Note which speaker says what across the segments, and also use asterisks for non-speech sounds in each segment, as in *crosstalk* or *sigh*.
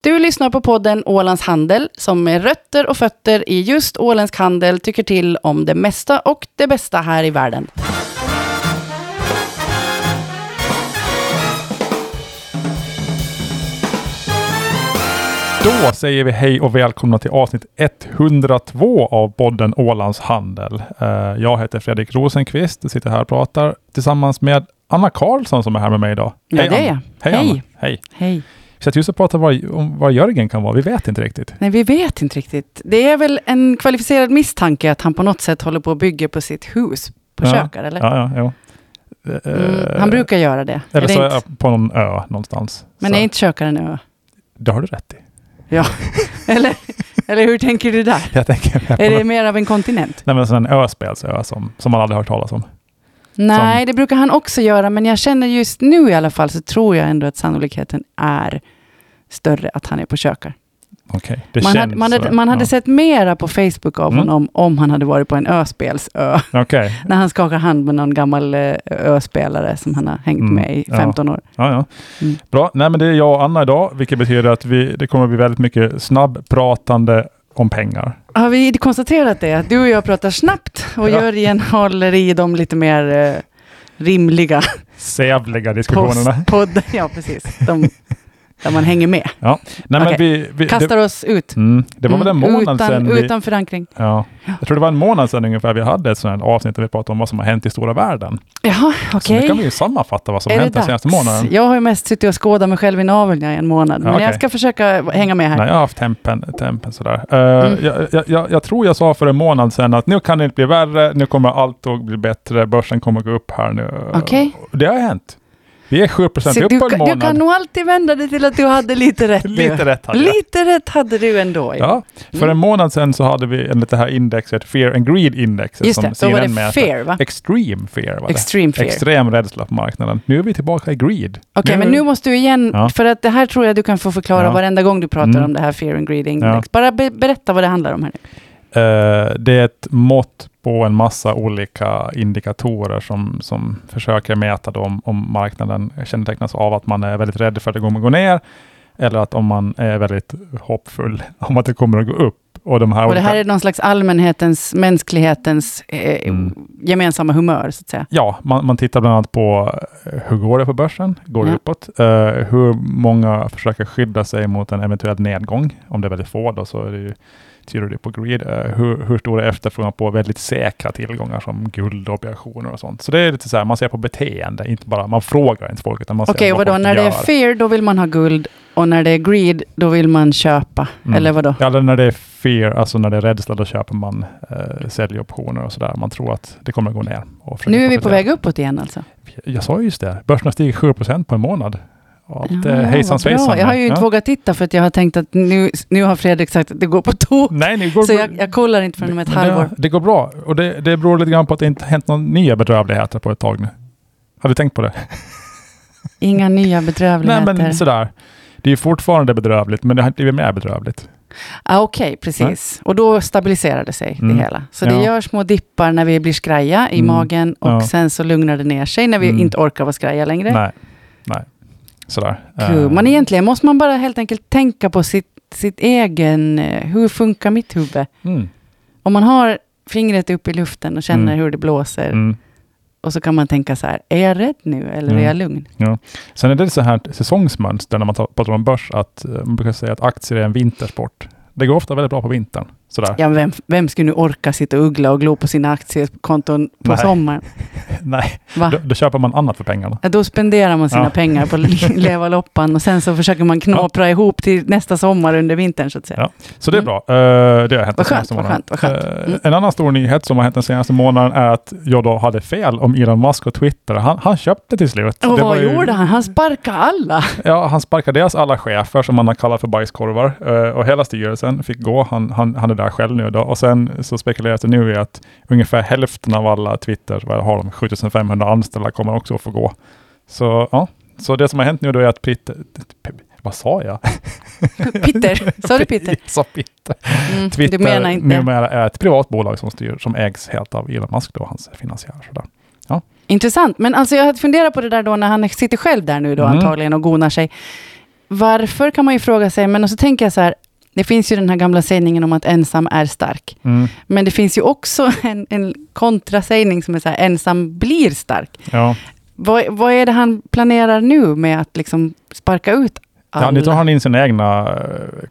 Speaker 1: Du lyssnar på podden Ålands Handel som med rötter och fötter i just åländsk handel tycker till om det mesta och det bästa här i världen.
Speaker 2: Då säger vi hej och välkomna till avsnitt 102 av podden Ålands Handel. Eh, Jag heter Fredrik Rosenqvist och sitter här och pratar tillsammans med Anna Karlsson som är här med mig idag.
Speaker 1: Ja, det är
Speaker 2: Anna.
Speaker 1: jag.
Speaker 2: Hej,
Speaker 1: Hej.
Speaker 2: Anna. Hej.
Speaker 1: Hej.
Speaker 2: Vi satt just och pratade vad- om vad Jörgen kan vara. Vi vet inte riktigt.
Speaker 1: Nej, vi vet inte riktigt. Det är väl en kvalificerad misstanke att han på något sätt håller på och bygger på sitt hus på
Speaker 2: Ja.
Speaker 1: Kökar, eller?
Speaker 2: Ja, ja, jo. Eh,
Speaker 1: Mm, han brukar göra det.
Speaker 2: Eller
Speaker 1: Är det
Speaker 2: så är
Speaker 1: inte,
Speaker 2: jag på någon ö någonstans.
Speaker 1: men
Speaker 2: så,
Speaker 1: är inte Kökar en ö?
Speaker 2: Det har du rätt i.
Speaker 1: *laughs* Eller, eller hur tänker du där?
Speaker 2: Jag tänker mer på
Speaker 1: Är det
Speaker 2: någon-
Speaker 1: mer av en kontinent?
Speaker 2: Nej, men sån en öspelsö som, som man aldrig hört talas om.
Speaker 1: Nej, det brukar han också göra, men jag känner just nu i alla fall så tror jag ändå att sannolikheten är större att han är på Kökar.
Speaker 2: Okej, det
Speaker 1: Man
Speaker 2: känns
Speaker 1: hade, man
Speaker 2: så.
Speaker 1: hade, man hade
Speaker 2: ja.
Speaker 1: sett mera på Facebook av
Speaker 2: Mm.
Speaker 1: honom om han hade varit på en öspelsö. *laughs*
Speaker 2: Okej,
Speaker 1: När han skakar hand med någon gammal eh, öspelare som han har hängt
Speaker 2: Mm,
Speaker 1: med i
Speaker 2: ja.
Speaker 1: 15 år.
Speaker 2: Ja, ja.
Speaker 1: Mm.
Speaker 2: Bra. Nej, men det är jag och Anna idag, vilket betyder att vi, det kommer att bli väldigt mycket snabbpratande om pengar.
Speaker 1: Har vi konstaterat det? Att du och jag pratar snabbt och
Speaker 2: Ja.
Speaker 1: Jörgen håller i de lite mer eh, rimliga
Speaker 2: Sävliga diskussionerna.
Speaker 1: post-podden. *laughs* Ja, precis. De, där man hänger med.
Speaker 2: Nej, men
Speaker 1: Okej.
Speaker 2: vi, vi, det,
Speaker 1: Kastar oss ut.
Speaker 2: mm, det var väl en
Speaker 1: Mm,
Speaker 2: månad
Speaker 1: utan,
Speaker 2: sedan vi,
Speaker 1: Utan förankring.
Speaker 2: ja, Jag tror det var en månad sedan ungefär vi hade ett sånt här avsnitt där vi pratade om vad som har hänt i stora världen.
Speaker 1: Jaha,
Speaker 2: Så nu
Speaker 1: okej.
Speaker 2: kan vi ju sammanfatta vad som
Speaker 1: Är
Speaker 2: har
Speaker 1: det
Speaker 2: hänt den senaste
Speaker 1: dags?
Speaker 2: månaden.
Speaker 1: Jag har ju mest suttit och skådat mig själv i naveln i en månad.
Speaker 2: Ja,
Speaker 1: men jag
Speaker 2: okej.
Speaker 1: ska försöka hänga med här.
Speaker 2: Nej, jag har haft tempen, tempen sådär. Eh,
Speaker 1: Mm.
Speaker 2: jag, jag- jag, jag tror jag sa för en månad sedan att nu kan det inte bli värre, nu kommer allt att bli bättre, börsen kommer att gå upp här nu.
Speaker 1: Okej.
Speaker 2: Det har hänt. Vi är 7 procent
Speaker 1: Så
Speaker 2: upp
Speaker 1: du,
Speaker 2: på en
Speaker 1: kan- du
Speaker 2: månad.
Speaker 1: kan nog alltid vända dig till att du hade lite rätt. du.
Speaker 2: *laughs* Lite rätt hade jag.
Speaker 1: lite Mm. rätt hade du ändå. Ja.
Speaker 2: Ja, för en månad sedan så hade vi enligt det här indexet, Fear and Greed indexet,
Speaker 1: Just
Speaker 2: som
Speaker 1: det, då var
Speaker 2: CNN
Speaker 1: det
Speaker 2: mäter.
Speaker 1: fair va?
Speaker 2: Extreme fear var det.
Speaker 1: Extreme fear. Okej,
Speaker 2: Extrem rädsla på marknaden. Nu är vi tillbaka i greed.
Speaker 1: men nu måste du igen,
Speaker 2: Ja.
Speaker 1: för att det här tror jag du kan få förklara
Speaker 2: Ja.
Speaker 1: varenda gång du pratar
Speaker 2: Mm.
Speaker 1: om det här fear and greed index.
Speaker 2: Ja.
Speaker 1: Bara be- berätta vad det handlar om här nu.
Speaker 2: Eh, det är ett mått på en massa olika indikatorer som, som försöker mäta då om, om marknaden kännetecknas av att man är väldigt rädd för att det kommer att gå ner eller att om man är väldigt hoppfull om att det kommer att gå upp. Och, de här
Speaker 1: Och det här
Speaker 2: olika-
Speaker 1: är någon slags allmänhetens, mänsklighetens eh,
Speaker 2: Mm.
Speaker 1: gemensamma humör, så att säga.
Speaker 2: Ja, man, man tittar bland annat på eh, hur går det på börsen? Går det
Speaker 1: Ja.
Speaker 2: uppåt? Eh, hur många försöker skydda sig mot en eventuell nedgång? Om det är väldigt få då så är det ju, tyder det på greed. Eh, hur, hur stor är efterfrågan på väldigt säkra tillgångar som guld, obligationer och sånt? Så det är lite så här, man ser på beteende, inte bara, man frågar inte folk utan man ser
Speaker 1: Okej, och
Speaker 2: vad
Speaker 1: vadå?
Speaker 2: folk
Speaker 1: När det är
Speaker 2: gör.
Speaker 1: fear, då vill man ha guld. Och när det är greed, då vill man köpa.
Speaker 2: Mm.
Speaker 1: Eller vadå?
Speaker 2: Ja, Eller när det är fear, alltså när det är rädsla, då köper man eh, säljoptioner och sådär. Man tror att det kommer att gå ner. Och försöker
Speaker 1: Nu är vi på
Speaker 2: profitera.
Speaker 1: väg uppåt igen alltså.
Speaker 2: Jag sa ju just det, börsen har stigit 7 på en månad. Allt ja,
Speaker 1: Ah, vad
Speaker 2: hejsan
Speaker 1: bra.
Speaker 2: svejsan.
Speaker 1: Jag har ju inte
Speaker 2: ja.
Speaker 1: vågat titta för att jag har tänkt att nu, nu har Fredrik sagt att det går på tok.
Speaker 2: Nej, nu går
Speaker 1: Så jag, jag kollar inte förrän om ett
Speaker 2: Men
Speaker 1: halvår.
Speaker 2: Det, det går bra och det, det beror lite grann på att det inte hänt några nya bedrövligheter på ett tag nu. Har du tänkt på det?
Speaker 1: Inga nya
Speaker 2: Nej,
Speaker 1: bedrövligheter.
Speaker 2: men sådär. Det är ju fortfarande bedrövligt, men det har inte blivit mer bedrövligt.
Speaker 1: ah, Okej, precis. Och då stabiliserar det sig,
Speaker 2: Mm.
Speaker 1: det hela. Så
Speaker 2: Ja.
Speaker 1: det gör små dippar när vi blir skraja i
Speaker 2: Mm.
Speaker 1: magen och
Speaker 2: Ja.
Speaker 1: sen så lugnar det ner sig när vi
Speaker 2: Mm.
Speaker 1: inte orkar vara skraja längre.
Speaker 2: Nej, nej. Sådär.
Speaker 1: Kul.
Speaker 2: Eh,
Speaker 1: Men egentligen måste man bara helt enkelt tänka på sitt, sitt egen... eh, Hur funkar mitt huvud?
Speaker 2: mm,
Speaker 1: Om man har fingret upp i luften och känner
Speaker 2: Mm.
Speaker 1: hur det blåser
Speaker 2: mm.
Speaker 1: och så kan man tänka så här, är jag rädd nu eller
Speaker 2: Mm.
Speaker 1: är jag lugn?
Speaker 2: Sen är det så här säsongsmönster när man tar- pratar om börs, att eh, man brukar säga att aktier är en vintersport. Det går ofta väldigt bra på vintern. Sådär.
Speaker 1: Ja, men vem, vem skulle nu orka sitta och uggla och glo på sina aktiekonton på
Speaker 2: Nej.
Speaker 1: sommaren?
Speaker 2: *laughs* Nej,
Speaker 1: Va?
Speaker 2: då, då köper man annat för pengarna.
Speaker 1: Ja, Då spenderar man sina
Speaker 2: Ja.
Speaker 1: pengar
Speaker 2: *laughs*
Speaker 1: på li- leva loppan och sen så försöker man knåpra ihop till nästa sommar under vintern så att säga.
Speaker 2: Ja. Så det är
Speaker 1: Mm.
Speaker 2: bra. Eh, det har
Speaker 1: Vad
Speaker 2: hänt den
Speaker 1: skönt,
Speaker 2: senaste
Speaker 1: vad
Speaker 2: månaden.
Speaker 1: skönt, vad skönt.
Speaker 2: Eh,
Speaker 1: Mm.
Speaker 2: En annan stor nyhet som har hänt den senaste månaden är att jag då hade fel om Elon Musk och Twitter. Han, han köpte till slut.
Speaker 1: Och
Speaker 2: Det var
Speaker 1: vad
Speaker 2: ju-
Speaker 1: gjorde han? Han sparkade alla. *laughs*
Speaker 2: Ja, han sparkade deras alla chefer som han har kallat för bajskorvar eh, och hela styrelsen fick gå. Han, han, han är där själv nu då. Och sen så spekuleras det nu i att ungefär hälften av alla Twitter, vad har de, 7500 anställda kommer också att få gå. Så ja, så det som har hänt nu då är att Pitter, vad sa jag?
Speaker 1: Pitter, sa du Pitter?
Speaker 2: Jag *laughs* sa Pitter.
Speaker 1: Mm,
Speaker 2: Twitter
Speaker 1: du menar inte,
Speaker 2: numera är ett privat bolag som styr, som ägs helt av Elon Musk då, och hans finansiärer. Sådär.
Speaker 1: Intressant, men alltså jag hade funderat på det där då när han sitter själv där nu då
Speaker 2: Mm.
Speaker 1: antagligen och gonar sig. varför kan man ju fråga sig, men och så tänker jag så här, det finns ju den här gamla sägningen om att ensam är stark.
Speaker 2: Mm.
Speaker 1: Men det finns ju också *laughs* en, en kontrasägning som är så här, ensam blir stark.
Speaker 2: Ja.
Speaker 1: Vad, vad är det han planerar nu med att liksom sparka ut alla?
Speaker 2: Ja, nu tar han in sina egna eh,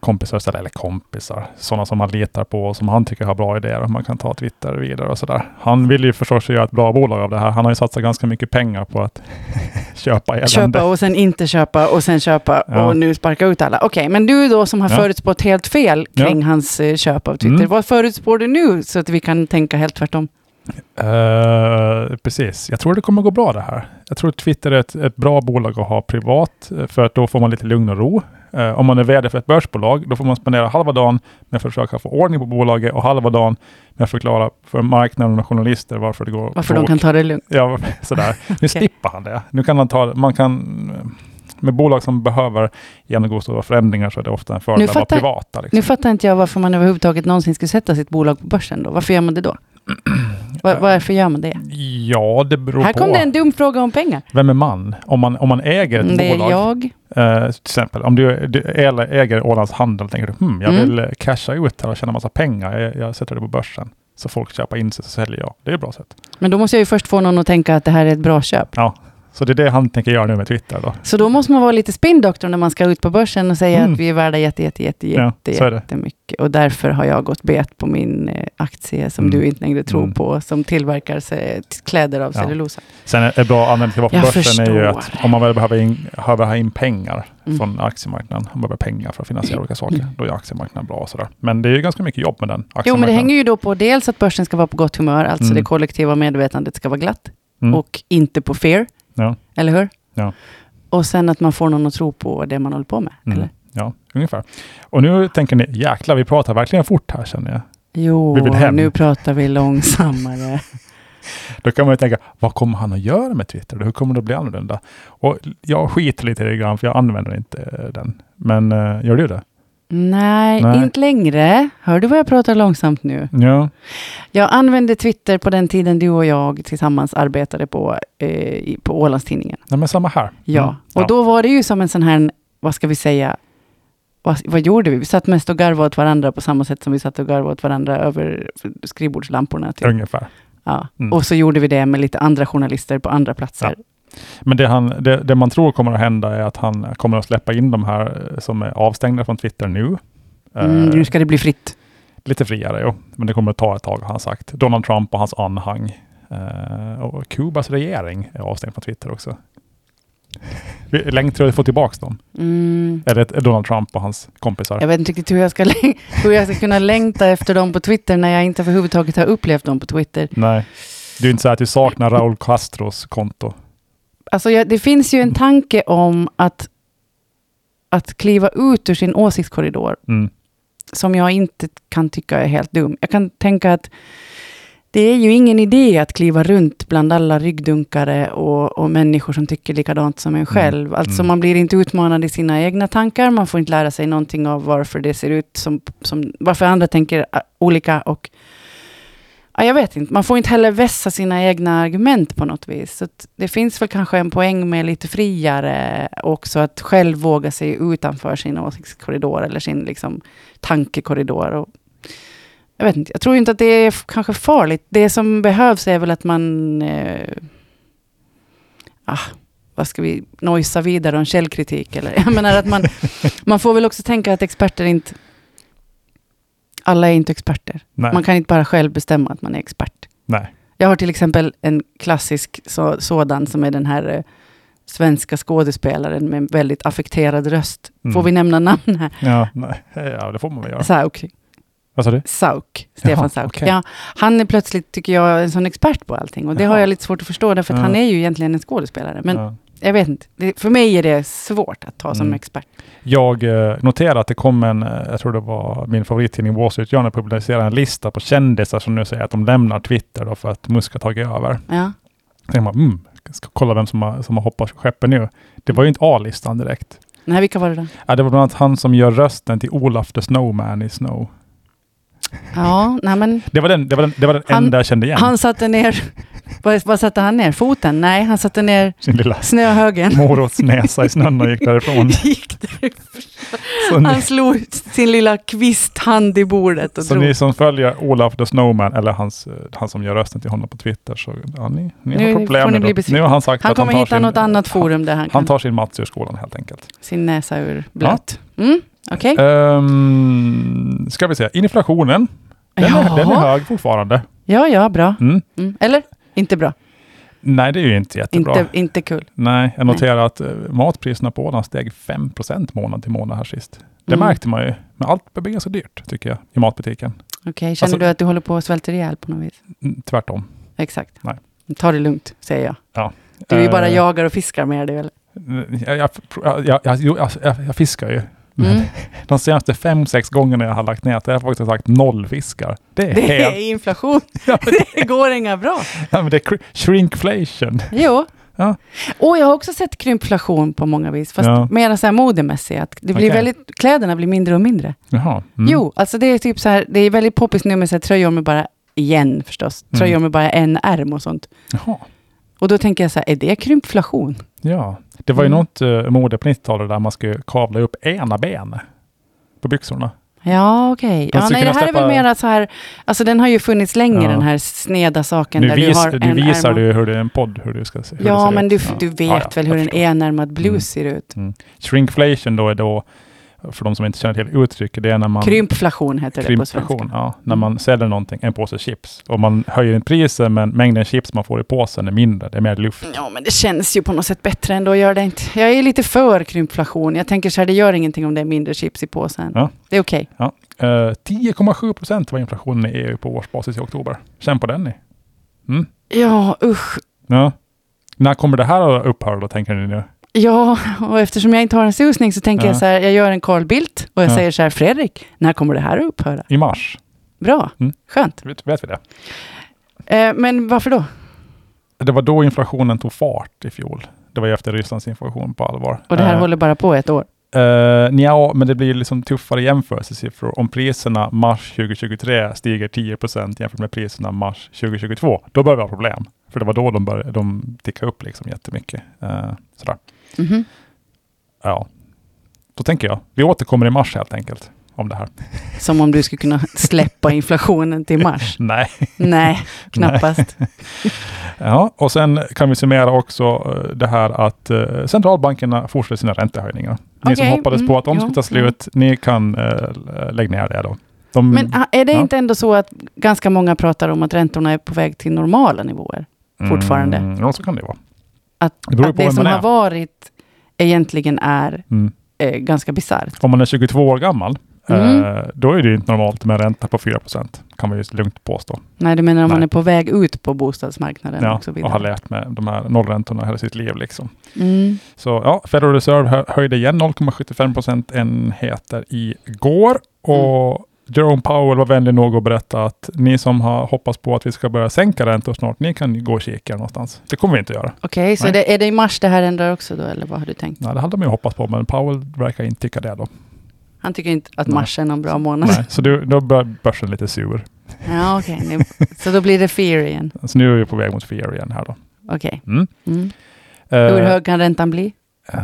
Speaker 2: kompisar istället, eller kompisar, sådana som han litar på och som han tycker har bra idéer och man kan ta Twitter vidare och sådär. Han vill ju förstås göra ett bra bolag av det här. Han har ju satsat ganska mycket pengar på att *laughs* köpa elände.
Speaker 1: Köpa och sen inte köpa och sen köpa
Speaker 2: Ja.
Speaker 1: och nu sparka ut alla. Okej, men du då som har
Speaker 2: Ja.
Speaker 1: förutspått helt fel kring hans eh, köp av Twitter.
Speaker 2: Mm.
Speaker 1: Vad förutspår du nu så att vi kan tänka helt tvärtom?
Speaker 2: Eh, precis. Jag tror det kommer gå bra det här. Jag tror Twitter är ett, ett bra bolag att ha privat eh, för att då får man lite lugn och ro. Eh, om man är vd för ett börsbolag, då får man spendera halva dagen med att försöka få ordning på bolaget och halva dagen med att förklara för marknaden och journalister varför det går
Speaker 1: Varför de
Speaker 2: tråkigt.
Speaker 1: kan ta det lugnt.
Speaker 2: Ja, *laughs* sådär.
Speaker 1: *laughs*
Speaker 2: Nu slipper han det. Nu kan han ta, man kan, med bolag som behöver genomgå stora förändringar så är det ofta en fördel att vara
Speaker 1: fattar-
Speaker 2: privata. Liksom.
Speaker 1: Nu fattar inte jag varför man överhuvudtaget någonsin skulle sätta sitt bolag på börsen då. Varför gör man det
Speaker 2: *clears throat*
Speaker 1: då? Var, varför gör man det?
Speaker 2: Ja, det beror
Speaker 1: Här
Speaker 2: på.
Speaker 1: kom det en dum fråga om pengar. Mm,
Speaker 2: Vem är man? Om man, om man äger ett
Speaker 1: Det är
Speaker 2: bolag,
Speaker 1: jag.
Speaker 2: eh, till exempel, om du, du äl- äger Ålands Handel, tänker du hmm, jag
Speaker 1: Mm.
Speaker 2: vill eh, casha ut här och tjäna massa pengar. Jag, jag sätter det på börsen. Så folk köper in sig så säljer jag. Det är ett bra sätt.
Speaker 1: Men då måste jag ju först få någon att tänka att det här är ett bra köp.
Speaker 2: Så det är det han tänker göra nu med Twitter. Då.
Speaker 1: Så då måste man vara lite spindoktor när man ska ut på börsen och säga
Speaker 2: Mm.
Speaker 1: att vi är värda jätte, jätte, jätte,
Speaker 2: Ja,
Speaker 1: jätte,
Speaker 2: så är det.
Speaker 1: jättemycket. Och därför har jag gått bet på min eh, aktie som
Speaker 2: Mm.
Speaker 1: du inte längre tror
Speaker 2: Mm.
Speaker 1: på, som tillverkar sig, t- kläder av
Speaker 2: Ja.
Speaker 1: cellulosa.
Speaker 2: Sen är- är bra användning till att vara på
Speaker 1: Jag
Speaker 2: börsen är ju
Speaker 1: förstår.
Speaker 2: att om man väl behöver, in, behöver ha in pengar
Speaker 1: Mm.
Speaker 2: från aktiemarknaden, man behöver pengar för att finansiera olika saker, då är aktiemarknaden bra och sådär. Men det är ju ganska mycket jobb med den.
Speaker 1: Jo, men det
Speaker 2: aktiemarknaden.
Speaker 1: hänger ju då på dels att börsen ska vara på gott humör, alltså
Speaker 2: Mm.
Speaker 1: det kollektiva medvetandet ska vara glatt
Speaker 2: Mm.
Speaker 1: och inte på fear.
Speaker 2: Ja.
Speaker 1: Eller hur?
Speaker 2: Ja.
Speaker 1: Och sen att man får någon att tro på det man håller på med.
Speaker 2: Mm.
Speaker 1: Eller?
Speaker 2: Ja, ungefär. Och nu tänker ni, jäklar, vi pratar verkligen fort här känner jag.
Speaker 1: Jo,
Speaker 2: Vi vill hem.
Speaker 1: nu pratar vi
Speaker 2: *laughs*
Speaker 1: långsammare.
Speaker 2: Då kan man ju tänka, vad kommer han att göra med Twitter? Hur kommer det att bli annorlunda? Och jag skiter lite i det grann, för jag använder inte eh, den. Men eh, gör du det?
Speaker 1: Nej,
Speaker 2: Nej.
Speaker 1: inte längre. Hör du vad jag pratar långsamt nu?
Speaker 2: Ja.
Speaker 1: Jag använde Twitter på den tiden du och jag tillsammans arbetade på, eh, i- på Ålandstidningen.
Speaker 2: Nej, men samma här.
Speaker 1: Ja,
Speaker 2: Mm.
Speaker 1: och då var det ju som en sån här, vad ska vi säga, vad, vad gjorde vi? Vi satt mest och garvade åt varandra på samma sätt som vi satt och garvade åt varandra över skrivbordslamporna. Typ.
Speaker 2: Ungefär.
Speaker 1: Ja.
Speaker 2: Mm.
Speaker 1: Och så gjorde vi det med lite andra journalister på andra platser.
Speaker 2: Men det, han, det, det man tror kommer att hända är att han kommer att släppa in de här eh, som är avstängda från Twitter nu. Eh,
Speaker 1: Mm, nu ska det bli fritt.
Speaker 2: Lite friare, jo. men det kommer att ta ett tag har han sagt. Donald Trump och hans anhang. Eh, och Kubas regering är avstängd från Twitter också. *laughs* Vi- Längtar till att få tillbaka dem?
Speaker 1: Mm.
Speaker 2: Är det ett- Donald Trump och hans kompisar?
Speaker 1: Jag vet inte riktigt hur jag, ska, lä- *laughs* hur jag ska kunna längta efter dem på Twitter när jag inte överhuvudtaget har upplevt dem på Twitter.
Speaker 2: Nej. Det är ju inte så att du saknar Raúl Castros konto.
Speaker 1: Alltså jag, det finns ju en tanke om att, att kliva ut ur sin åsiktskorridor
Speaker 2: Mm.
Speaker 1: som jag inte kan tycka är helt dum. Jag kan tänka att det är ju ingen idé att kliva runt bland alla ryggdunkare och, och människor som tycker likadant som en själv. Alltså
Speaker 2: Mm.
Speaker 1: man blir inte utmanad i sina egna tankar, man får inte lära sig någonting av varför det ser ut som, som varför andra tänker ah, olika och Ja, jag vet inte, man får inte heller vässa sina egna argument på något vis. Så att det finns väl kanske en poäng med lite friare också, att själv våga sig utanför sin åsiktskorridor eller sin liksom, tankekorridor. Och, jag vet inte, jag tror inte att det är f- kanske farligt. Det som behövs är väl att man... Eh, ah, vad ska vi nojsa vidare om källkritik? Eller? Jag menar att
Speaker 2: *laughs*
Speaker 1: man, man får väl också tänka att experter inte... Alla är inte experter.
Speaker 2: Nej.
Speaker 1: Man kan inte bara själv bestämma att man är expert.
Speaker 2: Nej.
Speaker 1: Jag har till exempel en klassisk så, sådan som är den här eh, svenska skådespelaren med en väldigt affekterad röst.
Speaker 2: Mm.
Speaker 1: Får vi nämna namn här?
Speaker 2: Ja, nej. ja, det får man väl göra.
Speaker 1: Sauk.
Speaker 2: Vad sa du?
Speaker 1: Sauk, Stefan
Speaker 2: Jaha,
Speaker 1: Sauk.
Speaker 2: okej.
Speaker 1: Ja, han är plötsligt, tycker jag, en sån expert på allting. Och det har
Speaker 2: Jaha.
Speaker 1: jag lite svårt att förstå, därför att
Speaker 2: Ja.
Speaker 1: han är ju egentligen en skådespelare. Men
Speaker 2: Ja.
Speaker 1: jag vet inte, det, för mig är det svårt att ta som
Speaker 2: Mm.
Speaker 1: expert.
Speaker 2: Jag eh, noterade att det kom en, eh, jag tror det var min favorittidning Wall Street Journal, publicerade en lista på kändisar som nu säger att de lämnar Twitter då för att Musk har tagit över.
Speaker 1: Ja.
Speaker 2: Tänker man, mm, ska kolla vem som har, som har hoppat skeppet nu. Det var ju inte A-listan direkt.
Speaker 1: Nej, vilka var det då?
Speaker 2: Ja, det var bland annat han som gör rösten till Olaf the Snowman i Snow.
Speaker 1: Ja, nej men
Speaker 2: Det var den, det var den, det var den
Speaker 1: Han-
Speaker 2: enda jag kände igen.
Speaker 1: han satte ner Vad, vad satte han ner? Foten? Nej, han satte ner
Speaker 2: Sin lilla
Speaker 1: snöhögen. *laughs*
Speaker 2: morotsnäsa i snön och gick därifrån.
Speaker 1: Gick därifrån.
Speaker 2: Så ni,
Speaker 1: Han slog sin lilla kvisthand i bordet och
Speaker 2: så
Speaker 1: drog.
Speaker 2: ni som följer Olaf the Snowman, eller hans, eh, han som gör rösten till honom på Twitter, så ja, ni, ni
Speaker 1: Nu
Speaker 2: har problem
Speaker 1: får ni
Speaker 2: med
Speaker 1: bli
Speaker 2: det.
Speaker 1: besvikna.
Speaker 2: Nu har han sagt
Speaker 1: Han
Speaker 2: att han
Speaker 1: kommer
Speaker 2: tar
Speaker 1: hitta
Speaker 2: sin,
Speaker 1: något annat forum där han,
Speaker 2: Han
Speaker 1: kan
Speaker 2: tar sin Mats ur skolan helt enkelt.
Speaker 1: sin näsa ur blöt. Mm, Okej.
Speaker 2: Um, ska vi se, inflationen. Den, är, den är
Speaker 1: Ja.
Speaker 2: hög fortfarande.
Speaker 1: ja, ja, bra.
Speaker 2: Mm.
Speaker 1: Mm. Eller? Inte bra.
Speaker 2: Nej, det är ju inte jättebra.
Speaker 1: Inte, inte kul.
Speaker 2: Nej, jag noterar att eh, matpriserna på Åland steg 5 månad till månad här sist. Det
Speaker 1: Mm.
Speaker 2: märkte man ju, men allt börjar bli så dyrt tycker jag i matbutiken.
Speaker 1: Okej, känner
Speaker 2: Alltså-
Speaker 1: du att du håller på att svälta ihjäl på något vis?
Speaker 2: Mm, Tvärtom.
Speaker 1: Exakt.
Speaker 2: Nej.
Speaker 1: Ta det lugnt, säger jag.
Speaker 2: Ja.
Speaker 1: Du är ju bara
Speaker 2: Eh,
Speaker 1: jagar och fiskar med det, eller?
Speaker 2: Jag, jag, jag, jag, jo, alltså, jag, jag fiskar ju. Men
Speaker 1: Mm.
Speaker 2: *laughs* de senaste fem, sex gångerna jag har lagt nät, jag har faktiskt sagt noll fiskar. Det
Speaker 1: *laughs*
Speaker 2: är
Speaker 1: Det
Speaker 2: helt...
Speaker 1: är inflation.
Speaker 2: Ja, men det,
Speaker 1: Det går inga bra.
Speaker 2: ja, men det är cr- shrinkflation.
Speaker 1: Jo.
Speaker 2: Ja.
Speaker 1: Och jag har också sett krympflation på många vis, fast
Speaker 2: Ja.
Speaker 1: mer så här modemässigt. Att det blir
Speaker 2: Okej.
Speaker 1: väldigt, kläderna blir mindre och mindre.
Speaker 2: Jaha. Mm.
Speaker 1: Jo, alltså det är typ så här, det är väldigt poppis nu med så här, tröjor med bara, igen förstås,
Speaker 2: Mm.
Speaker 1: tröjor med bara en ärm och sånt.
Speaker 2: Jaha.
Speaker 1: Och då tänker jag så här, är det krympflation?
Speaker 2: Ja. Det var ju
Speaker 1: Mm.
Speaker 2: något eh, mode på 90-talet där man skulle kavla upp ena ben på byxorna.
Speaker 1: Ja, okej.
Speaker 2: Man
Speaker 1: Ja,
Speaker 2: skulle
Speaker 1: nej, det
Speaker 2: kunna
Speaker 1: här är väl
Speaker 2: släppa-
Speaker 1: mera så här, alltså den har ju funnits länge
Speaker 2: Ja.
Speaker 1: den här sneda saken
Speaker 2: Nu,
Speaker 1: där
Speaker 2: vis,
Speaker 1: du har
Speaker 2: nu
Speaker 1: en
Speaker 2: visar
Speaker 1: ärm. och-
Speaker 2: du hur det är en podd, hur du ska se hur det
Speaker 1: ja,
Speaker 2: ser
Speaker 1: men
Speaker 2: ut.
Speaker 1: du, du vet
Speaker 2: Ja, ja,
Speaker 1: väl
Speaker 2: jag
Speaker 1: hur en
Speaker 2: förstår.
Speaker 1: enärmad blues
Speaker 2: Mm.
Speaker 1: ser ut.
Speaker 2: Shrinkflation då är då, för de som inte känner till uttrycket, det är när man...
Speaker 1: Krympflation heter det på
Speaker 2: Krympflation,
Speaker 1: svenska.
Speaker 2: ja. När man säljer någonting, en påse chips, och man höjer priset men mängden chips man får i påsen är mindre, det är mer luft.
Speaker 1: Ja, men det känns ju på något sätt bättre ändå, gör det inte? Jag är lite för krympflation. Jag tänker så här, det gör ingenting om det är mindre chips i påsen.
Speaker 2: Ja.
Speaker 1: Det är okej.
Speaker 2: Eh, 10,7 procent var inflationen i EU på årsbasis i oktober. Känn på den ni.
Speaker 1: Ja, usch.
Speaker 2: Ja. När kommer det här att upphöra då, tänker ni nu?
Speaker 1: Ja, och eftersom jag inte har en susning så tänker
Speaker 2: Ja.
Speaker 1: jag så här, jag gör en Carl Bildt och jag
Speaker 2: Ja.
Speaker 1: säger så här, Fredrik, när kommer det här att upphöra?
Speaker 2: I mars?
Speaker 1: Bra,
Speaker 2: Mm.
Speaker 1: skönt.
Speaker 2: Vet, vet vi det?
Speaker 1: Eh, men varför då?
Speaker 2: Det var då inflationen tog fart i fjol. Det var ju efter Rysslands inflation på allvar.
Speaker 1: Och det här
Speaker 2: Eh,
Speaker 1: håller bara på ett år.
Speaker 2: Uh, ja, men det blir ju liksom tuffare jämförelsesiffror. Om priserna mars 2023 stiger 10 jämfört med priserna mars 2022, då börjar vi ha problem. För det var då de, började, de tickade upp liksom jättemycket. Eh, sådär.
Speaker 1: Mhm.
Speaker 2: Ja. Då tänker jag, vi återkommer i mars helt enkelt om det här.
Speaker 1: Som om du skulle kunna
Speaker 2: *laughs*
Speaker 1: släppa inflationen till mars.
Speaker 2: Nej.
Speaker 1: Nej, knappast.
Speaker 2: Ja, och sen kan vi summera också eh, det här att eh, centralbankerna fortsätter sina räntehöjningar. Ni som
Speaker 1: Okej,
Speaker 2: hoppades
Speaker 1: mm,
Speaker 2: på att de
Speaker 1: jo,
Speaker 2: skulle ta
Speaker 1: mm.
Speaker 2: slut, ni kan eh, lägga ner det då. De,
Speaker 1: Men ah, är det
Speaker 2: Mm. Ja.
Speaker 1: inte ändå så att ganska många pratar om att räntorna är på väg till normala nivåer? fortfarande.
Speaker 2: Mm, ja, så kan det vara.
Speaker 1: Att,
Speaker 2: Det beror ju
Speaker 1: att
Speaker 2: på
Speaker 1: det
Speaker 2: vem
Speaker 1: som
Speaker 2: man är.
Speaker 1: har varit egentligen är
Speaker 2: Mm.
Speaker 1: eh, ganska bisarrt.
Speaker 2: Om man är 22 år gammal,
Speaker 1: Mm.
Speaker 2: eh, då är det ju inte normalt med en ränta på 4 kan man ju lugnt påstå.
Speaker 1: Nej, du menar om man
Speaker 2: Nej.
Speaker 1: är på väg ut på bostadsmarknaden
Speaker 2: Ja,
Speaker 1: och så
Speaker 2: och har
Speaker 1: vidare.
Speaker 2: lärt med de här nollräntorna hela sitt liv. Liksom.
Speaker 1: Mm.
Speaker 2: Så ja, Federal Reserve hö- höjde igen 0,75 procentenheter igår. Och
Speaker 1: Mm.
Speaker 2: Jerome Powell var vänlig nog att berätta att ni som har hoppats på att vi ska börja sänka räntor snart, ni kan ju gå och kika någonstans. Det kommer vi inte göra.
Speaker 1: Okej, så
Speaker 2: Nej.
Speaker 1: det, är det i mars det här ändrar också då, eller vad har du tänkt?
Speaker 2: Nej, det hade man ju hoppats på, men Powell verkar inte tycka det då.
Speaker 1: Han tycker inte att
Speaker 2: Nej.
Speaker 1: mars är någon bra månad.
Speaker 2: Nej, så du, då börjar börsen lite sur.
Speaker 1: *laughs* Ja, okej. nu- Så då blir det fear igen.
Speaker 2: Så nu är vi på väg mot fear igen här då.
Speaker 1: Okej.
Speaker 2: Mm.
Speaker 1: Mm.
Speaker 2: Eh,
Speaker 1: Hur hög kan räntan
Speaker 2: *laughs*
Speaker 1: bli?
Speaker 2: Eh,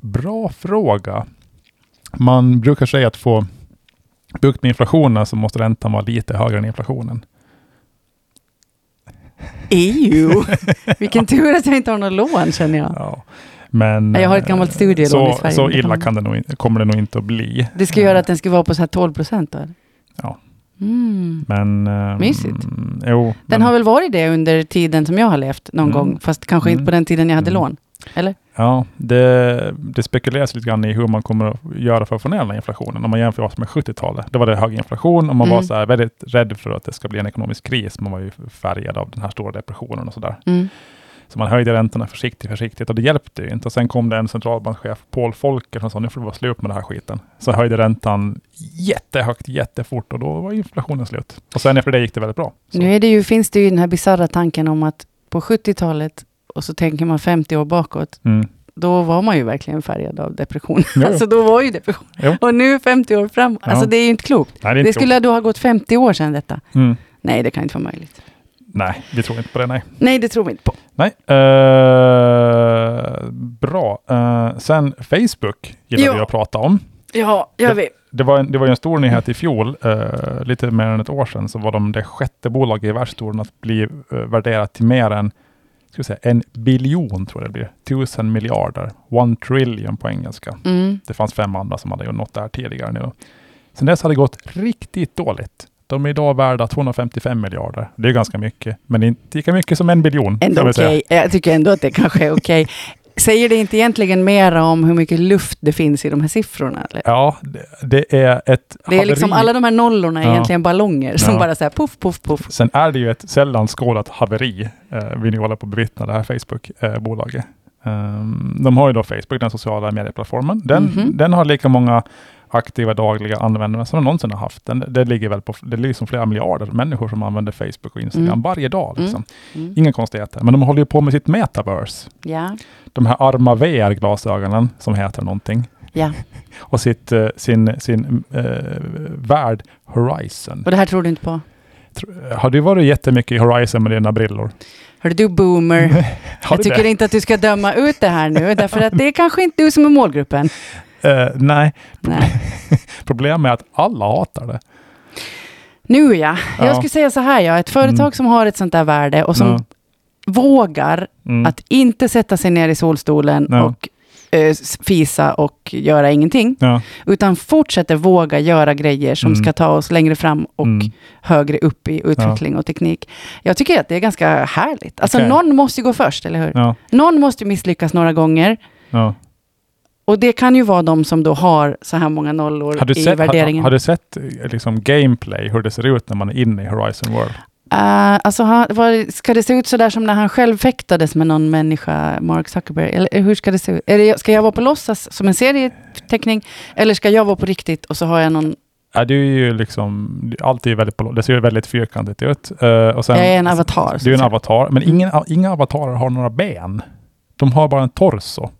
Speaker 2: bra fråga. Man brukar säga att få bukt med inflationen så måste räntan vara lite högre än inflationen.
Speaker 1: EU! Vilken tur att jag inte har något lån, känner jag.
Speaker 2: Ja. Men,
Speaker 1: Jag har ett
Speaker 2: eh,
Speaker 1: gammalt studielån
Speaker 2: så,
Speaker 1: i Sverige,
Speaker 2: Så
Speaker 1: men det
Speaker 2: illa
Speaker 1: kan-
Speaker 2: kan det nog, in- kommer det nog inte att bli.
Speaker 1: Det ska göra att den ska vara på så här 12 procent då, eller?
Speaker 2: Mm. Ja.
Speaker 1: Mm.
Speaker 2: Men... eh,
Speaker 1: Mysigt.
Speaker 2: mm, Jo,
Speaker 1: Den
Speaker 2: men,
Speaker 1: har väl varit det under tiden som jag har levt någon
Speaker 2: Mm.
Speaker 1: gång, fast kanske
Speaker 2: Mm.
Speaker 1: inte på den tiden jag hade
Speaker 2: Mm.
Speaker 1: lån. Eller?
Speaker 2: ja, det, det spekuleras lite grann i hur man kommer att göra för att få ner den här inflationen om man jämför oss med 70-talet. Då var det hög inflation och man var
Speaker 1: Mm.
Speaker 2: så här väldigt rädd för att det ska bli en ekonomisk kris. Man var ju färgad av den här stora depressionen och sådär.
Speaker 1: Mm.
Speaker 2: Så man höjde räntorna försiktigt, försiktigt och det hjälpte ju inte. Och sen kom det en centralbankschef, Paul Volcker, som sa nu får det vara slut med den här skiten. Så höjde räntan jättehögt, jättefort och då var inflationen slut. Och sen efter det gick det väldigt bra. Så,
Speaker 1: Nu är det ju, finns det ju den här bisarra tanken om att på 70-talet, och så tänker man 50 år bakåt,
Speaker 2: mm.
Speaker 1: då var man ju verkligen färgad av depression.
Speaker 2: Jo,
Speaker 1: *laughs*
Speaker 2: jo.
Speaker 1: Alltså då var ju depression.
Speaker 2: Jo.
Speaker 1: Och nu 50 år fram. Alltså
Speaker 2: Ja.
Speaker 1: det är ju inte klokt.
Speaker 2: Nej, det är
Speaker 1: Det,
Speaker 2: inte
Speaker 1: skulle då ha gått 50 år sedan detta.
Speaker 2: klokt. Mm.
Speaker 1: Nej, det kan inte vara möjligt.
Speaker 2: Nej, vi tror inte på det, nej.
Speaker 1: Nej, det tror vi inte på.
Speaker 2: Nej, eh, bra. Eh, sen Facebook gillade
Speaker 1: Ja.
Speaker 2: jag att prata om.
Speaker 1: Ja, gör vi.
Speaker 2: Det var, en, det var ju en stor nyhet i fjol, eh, lite mer än ett år sedan, så var de det sjätte bolaget i världsstolen att bli eh, värderat till mer än ska vi säga, en biljon, tror jag det blir. Tusen miljarder. One trillion på engelska.
Speaker 1: Mm.
Speaker 2: Det fanns fem andra som hade gjort något där tidigare nu. Sen dess har det gått riktigt dåligt. De är idag värda 255 miljarder. Det är ganska mycket, men det är inte lika mycket som en biljon. kan
Speaker 1: Ändå
Speaker 2: vi säga.
Speaker 1: okej. Jag tycker ändå att det kanske är okej. *laughs* Säger det inte egentligen mera om hur mycket luft det finns i de här siffrorna? Eller?
Speaker 2: Ja, det, det är ett
Speaker 1: Det är liksom alla de här nollorna är
Speaker 2: Ja.
Speaker 1: egentligen ballonger som
Speaker 2: Ja.
Speaker 1: bara så här puff, puff, puff.
Speaker 2: Sen är det ju ett sällan skådat haveri, eh, vill ni hålla på att bevittna det här Facebook-bolaget. Ehm, de har ju då Facebook, den sociala medieplattformen. Den,
Speaker 1: Mhm.
Speaker 2: den har lika många aktiva dagliga användare som de någonsin har haft. Den, det ligger väl på, det är liksom flera miljarder människor som använder Facebook och Instagram
Speaker 1: Mm.
Speaker 2: varje dag. Liksom.
Speaker 1: Mm. Mm.
Speaker 2: Inga konstigheter, men de håller ju på med sitt metaverse.
Speaker 1: Ja,
Speaker 2: De här arma VR-glasögonen som heter någonting.
Speaker 1: ja.
Speaker 2: *laughs* Och sitt, eh, sin, sin eh, värld Horizon.
Speaker 1: Och det här tror du inte på?
Speaker 2: Tr- Har du varit jättemycket i Horizon med dina brillor?
Speaker 1: Hörru du boomer,
Speaker 2: *laughs* Har
Speaker 1: jag
Speaker 2: du
Speaker 1: tycker inte att du ska döma ut det här nu, därför att det är kanske inte du som är målgruppen.
Speaker 2: Eh, nej,
Speaker 1: *laughs* Nej.
Speaker 2: *laughs* problemet är att alla hatar det.
Speaker 1: Nu ja,
Speaker 2: Ja.
Speaker 1: jag skulle säga så här, ja, ett företag
Speaker 2: Mm.
Speaker 1: som har ett sånt där värde och som
Speaker 2: Ja.
Speaker 1: vågar
Speaker 2: Mm.
Speaker 1: att inte sätta sig ner i solstolen
Speaker 2: Ja.
Speaker 1: och eh, s- fisa och göra ingenting,
Speaker 2: ja.
Speaker 1: utan fortsätter våga göra grejer som
Speaker 2: Mm.
Speaker 1: ska ta oss längre fram och
Speaker 2: Mm.
Speaker 1: högre upp i utveckling och teknik. Jag tycker att det är ganska härligt. Alltså
Speaker 2: Okej.
Speaker 1: någon måste ju gå först, eller hur?
Speaker 2: Ja.
Speaker 1: Någon måste ju misslyckas några gånger.
Speaker 2: Ja.
Speaker 1: Och det kan ju vara de som då har så här många nollor
Speaker 2: Har, du
Speaker 1: i
Speaker 2: sett, har,
Speaker 1: värderingen.
Speaker 2: har du sett eh, liksom, gameplay, hur det ser ut när man är inne i Horizon World?
Speaker 1: Eh, alltså, han, vad, ska det se ut så där som när han själv fäktades med någon människa, Mark Zuckerberg? Eller eh, hur ska det se ut? Är det, ska jag vara på låtsas som en serieteckning? Eller ska jag vara på riktigt och så har jag någon...
Speaker 2: Ja, det är ju liksom, det- allt är ju väldigt, på- det ser ju väldigt fyrkantigt ut. Eh, och sen,
Speaker 1: jag är en avatar. så
Speaker 2: Du
Speaker 1: att
Speaker 2: är en
Speaker 1: säga.
Speaker 2: avatar, men
Speaker 1: Mm.
Speaker 2: ingen, a- inga avatarer har några ben. De har bara en torso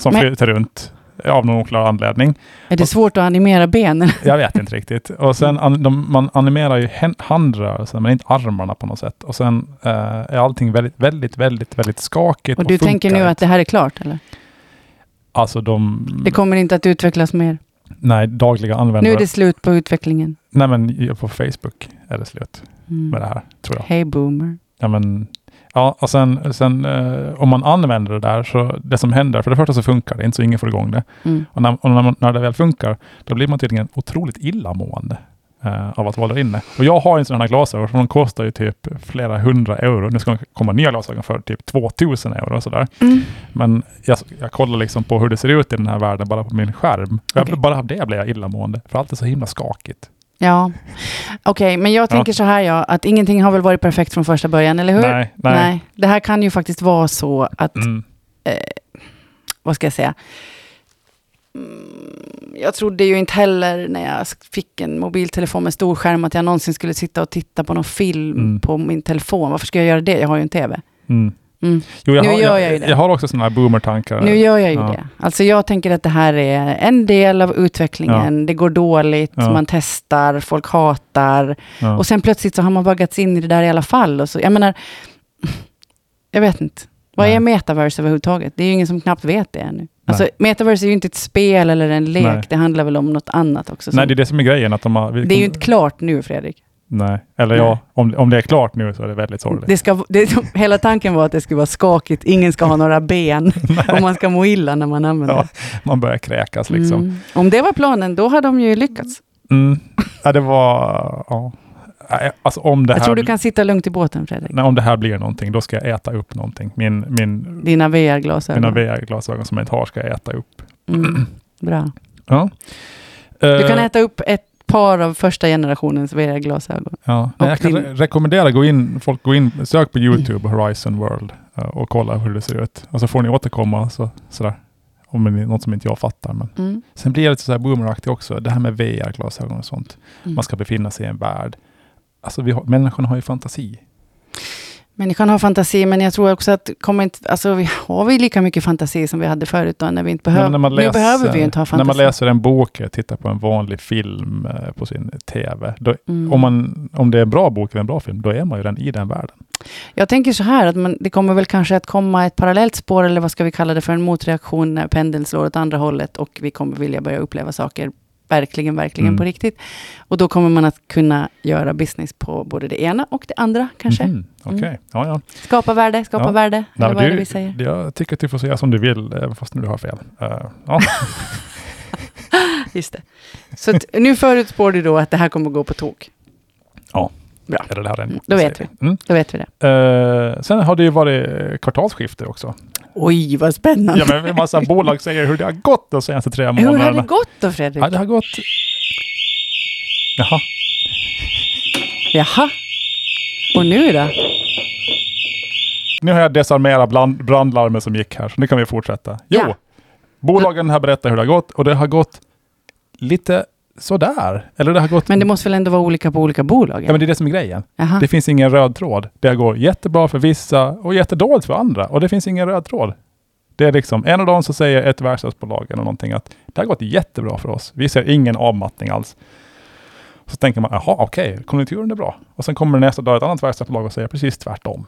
Speaker 2: som
Speaker 1: Men-
Speaker 2: flyter runt av någon oklar anledning.
Speaker 1: Är det svårt att animera benen?
Speaker 2: Jag vet inte riktigt. Och sen an, de, man animerar ju hän- handrörelsen, men inte armarna på något sätt. Och sen eh, är allting väldigt, väldigt, väldigt, väldigt skakigt.
Speaker 1: och du
Speaker 2: funkar
Speaker 1: tänker nu
Speaker 2: inte.
Speaker 1: att det här är klart, eller?
Speaker 2: Alltså de...
Speaker 1: Det kommer inte att utvecklas mer.
Speaker 2: Nej, dagliga
Speaker 1: Nu
Speaker 2: användare.
Speaker 1: är det slut på utvecklingen.
Speaker 2: Nej, men på Facebook är det slut
Speaker 1: Mm.
Speaker 2: med det här, tror jag.
Speaker 1: Hej boomer.
Speaker 2: Ja, men, ja och sen, sen eh, om man använder det där, så det som händer, för det första så funkar det inte, så ingen får igång det.
Speaker 1: Mm.
Speaker 2: Och när, och när, man- när det väl funkar, då blir man tydligen otroligt illamående eh, av att vara där inne. Och jag har inte sådana här glasögon, för de kostar ju typ flera hundra euro. Nu ska det komma nya glasögon för typ 2000 euro och sådär.
Speaker 1: Mm.
Speaker 2: Men jag, jag kollar liksom på hur det ser ut i den här världen bara på min skärm. Jag,
Speaker 1: Okej.
Speaker 2: Bara av det blir jag illamående, för allt är så himla skakigt.
Speaker 1: Ja, okej, men jag
Speaker 2: Ja.
Speaker 1: tänker så här ja, att ingenting har väl varit perfekt från första början, eller hur?
Speaker 2: Nej, nej.
Speaker 1: Det här kan ju faktiskt vara så att,
Speaker 2: Mm.
Speaker 1: vad ska jag säga? Mm, Jag trodde ju inte heller när jag fick en mobiltelefon med stor skärm att jag någonsin skulle sitta och titta på någon film
Speaker 2: Mm.
Speaker 1: på min telefon. Varför ska jag göra det? Jag har ju en TV.
Speaker 2: Mm.
Speaker 1: Mm.
Speaker 2: Jo, jag,
Speaker 1: Nu
Speaker 2: har,
Speaker 1: gör jag
Speaker 2: jag,
Speaker 1: ju
Speaker 2: jag,
Speaker 1: det.
Speaker 2: har också sådana här boomer-tankar.
Speaker 1: Nu gör jag ju
Speaker 2: Ja.
Speaker 1: det. Alltså jag tänker att det här är en del av utvecklingen. Det går dåligt,
Speaker 2: Ja.
Speaker 1: man testar, folk hatar.
Speaker 2: ja.
Speaker 1: Och sen plötsligt så har man baggats in i det där i alla fall. Och så, jag menar, jag vet inte. Vad
Speaker 2: Nej.
Speaker 1: är metaverse överhuvudtaget? Det är ju ingen som knappt vet det ännu. Alltså, metaverse är ju inte ett spel eller en lek.
Speaker 2: Nej.
Speaker 1: Det handlar väl om något annat också. som-
Speaker 2: Nej, det är det som är grejen. Att de har, vi,
Speaker 1: det är ju inte klart nu, Fredrik.
Speaker 2: Nej, eller ja,
Speaker 1: Nej.
Speaker 2: om, om det är klart nu så är det väldigt sorgligt.
Speaker 1: Det ska, det, *laughs* hela tanken var att det skulle vara skakigt. Ingen ska ha några
Speaker 2: *laughs*
Speaker 1: ben och man ska må illa när man använder
Speaker 2: Ja, man börjar kräkas
Speaker 1: det.
Speaker 2: liksom.
Speaker 1: Mm. Om det var planen, då har de ju lyckats.
Speaker 2: Mm. Ja, det var... Ja. Nej, Alltså om det,
Speaker 1: Jag
Speaker 2: här,
Speaker 1: tror du kan sitta lugnt i båten, Fredrik.
Speaker 2: nej, om det här blir någonting, då ska jag äta upp någonting. Min, min,
Speaker 1: Dina
Speaker 2: mina
Speaker 1: VR-glasögon.
Speaker 2: VR-glasögon som jag inte har ska jag äta upp. *clears throat*
Speaker 1: Mm. Bra.
Speaker 2: Ja.
Speaker 1: Du kan
Speaker 2: Eh,
Speaker 1: äta upp ett par av första generationens VR-glasögon.
Speaker 2: ja. Nej, jag kan
Speaker 1: din-
Speaker 2: re- rekommendera gå in, folk gå in, sök på YouTube Horizon World eh, och kolla hur det ser ut. Och så får ni återkomma så, sådär. Om det är något som inte jag fattar. Men.
Speaker 1: Mm.
Speaker 2: Sen blir det lite så här boomeraktigt också, det här med VR-glasögon och sånt.
Speaker 1: Mm.
Speaker 2: Man ska befinna sig i en värld. Alltså vi har, människan har ju fantasi.
Speaker 1: Människan har fantasi, men jag tror också att kommer inte, alltså, vi har vi lika mycket fantasi som vi hade förut då, när vi inte
Speaker 2: Men
Speaker 1: behöver,
Speaker 2: när man
Speaker 1: nu behöver vi ju inte ha
Speaker 2: När man
Speaker 1: fantasi.
Speaker 2: läser en bok, eh, tittar på en vanlig film eh, på sin tv, då,
Speaker 1: Mm.
Speaker 2: om, man, om det är en bra bok eller en bra film, då är man ju den i den världen.
Speaker 1: Jag tänker så här, att man, det kommer väl kanske att komma ett parallellt spår, eller vad ska vi kalla det för, en motreaktion när pendeln slår åt andra hållet och vi kommer vilja börja uppleva saker verkligen, verkligen
Speaker 2: Mm.
Speaker 1: på riktigt. Och då kommer man att kunna göra business på både det ena och det andra kanske.
Speaker 2: Mhm, Okej,
Speaker 1: Mm.
Speaker 2: ja, ja.
Speaker 1: Skapa värde, skapa
Speaker 2: Ja.
Speaker 1: värde,
Speaker 2: Nej,
Speaker 1: eller
Speaker 2: men
Speaker 1: vad är det
Speaker 2: du-
Speaker 1: vi säger?
Speaker 2: Jag tycker att du får säga som du vill, även fast du har fel. Eh,
Speaker 1: *laughs*
Speaker 2: ja.
Speaker 1: Just det. Så att, nu förutspår du då att det här kommer gå på tok.
Speaker 2: Eller det här är en-
Speaker 1: Mm, då vet vi.
Speaker 2: Mm.
Speaker 1: Då vet vi det.
Speaker 2: Eh, sen har det ju varit eh, kvartalsskifte också.
Speaker 1: Oj, vad spännande.
Speaker 2: Ja, men en massa bolag säger hur det har gått de senaste tre
Speaker 1: Hur
Speaker 2: månaderna.
Speaker 1: har det gått då, Fredrik?
Speaker 2: Ja, det har gått... Jaha.
Speaker 1: Jaha. Och nu då?
Speaker 2: Nu har jag desarmerat bland, brandlarmet som gick här, så nu kan vi fortsätta. Jo,
Speaker 1: Ja.
Speaker 2: bolagen har berättat hur det har gått och det har gått lite sådär. Eller det har gått...
Speaker 1: Men det måste väl ändå vara olika på olika bolag?
Speaker 2: Ja, men det är det som är grejen.
Speaker 1: Jaha.
Speaker 2: Det finns ingen röd tråd. Det går jättebra för vissa och jättedåligt för andra. Och det finns ingen röd tråd. Det är liksom, en av dem som säger ett verkstadsbolag eller någonting att det har gått jättebra för oss. Vi ser ingen avmattning alls. Så tänker man, jaha okej, konjunkturen är bra. Och sen kommer det nästa dag ett annat verkstadsbolag och säger precis tvärtom.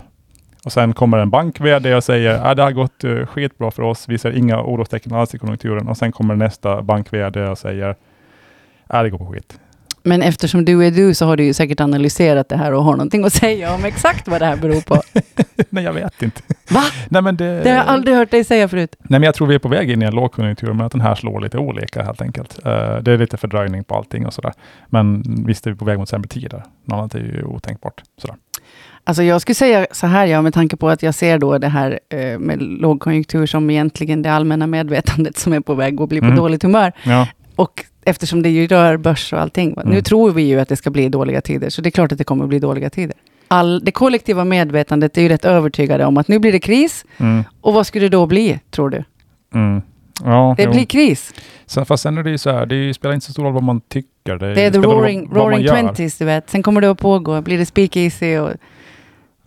Speaker 2: Och sen kommer en bank-VD och säger, äh, det har gått uh, skitbra för oss. Vi ser inga orostecken alls i konjunkturen. Och sen kommer nästa bank-VD och säger, äh, det går på skit. *laughs*
Speaker 1: Men eftersom du är du så har du ju säkert analyserat det här och har någonting att säga om exakt vad det här beror på.
Speaker 2: Nej, jag vet inte.
Speaker 1: *laughs* Va?
Speaker 2: Nej, men det...
Speaker 1: Det har jag aldrig hört dig säga förut.
Speaker 2: Nej, men jag tror vi är på väg in i en lågkonjunktur, men att den här slår lite olika helt enkelt. Eh, det är lite fördröjning på allting och sådär. Men visst är vi på väg mot sämre tider. Något annat är ju otänkbart. Sådär.
Speaker 1: Alltså jag skulle säga så här, ja, med tanke på att jag ser då det här eh, med lågkonjunktur som egentligen det allmänna medvetandet som är på väg att bli på
Speaker 2: Mm.
Speaker 1: dåligt humör.
Speaker 2: Ja.
Speaker 1: Och eftersom det ju rör börs och allting. va? Nu
Speaker 2: Mm.
Speaker 1: tror vi ju att det ska bli dåliga tider, så det är klart att det kommer bli dåliga tider. All, det kollektiva medvetandet är ju rätt övertygade om att nu blir det kris.
Speaker 2: Mm.
Speaker 1: Och vad skulle det då bli, tror du?
Speaker 2: Mm. Ja,
Speaker 1: Det
Speaker 2: jo.
Speaker 1: blir kris.
Speaker 2: Så, fast sen är det ju så här, det är ju- spelar inte så stor roll vad man tycker.
Speaker 1: Det är the
Speaker 2: spelar roll
Speaker 1: roaring,
Speaker 2: vad man
Speaker 1: roaring
Speaker 2: gör.
Speaker 1: twenties, du vet. Sen kommer det att pågå. Blir det speakeasy och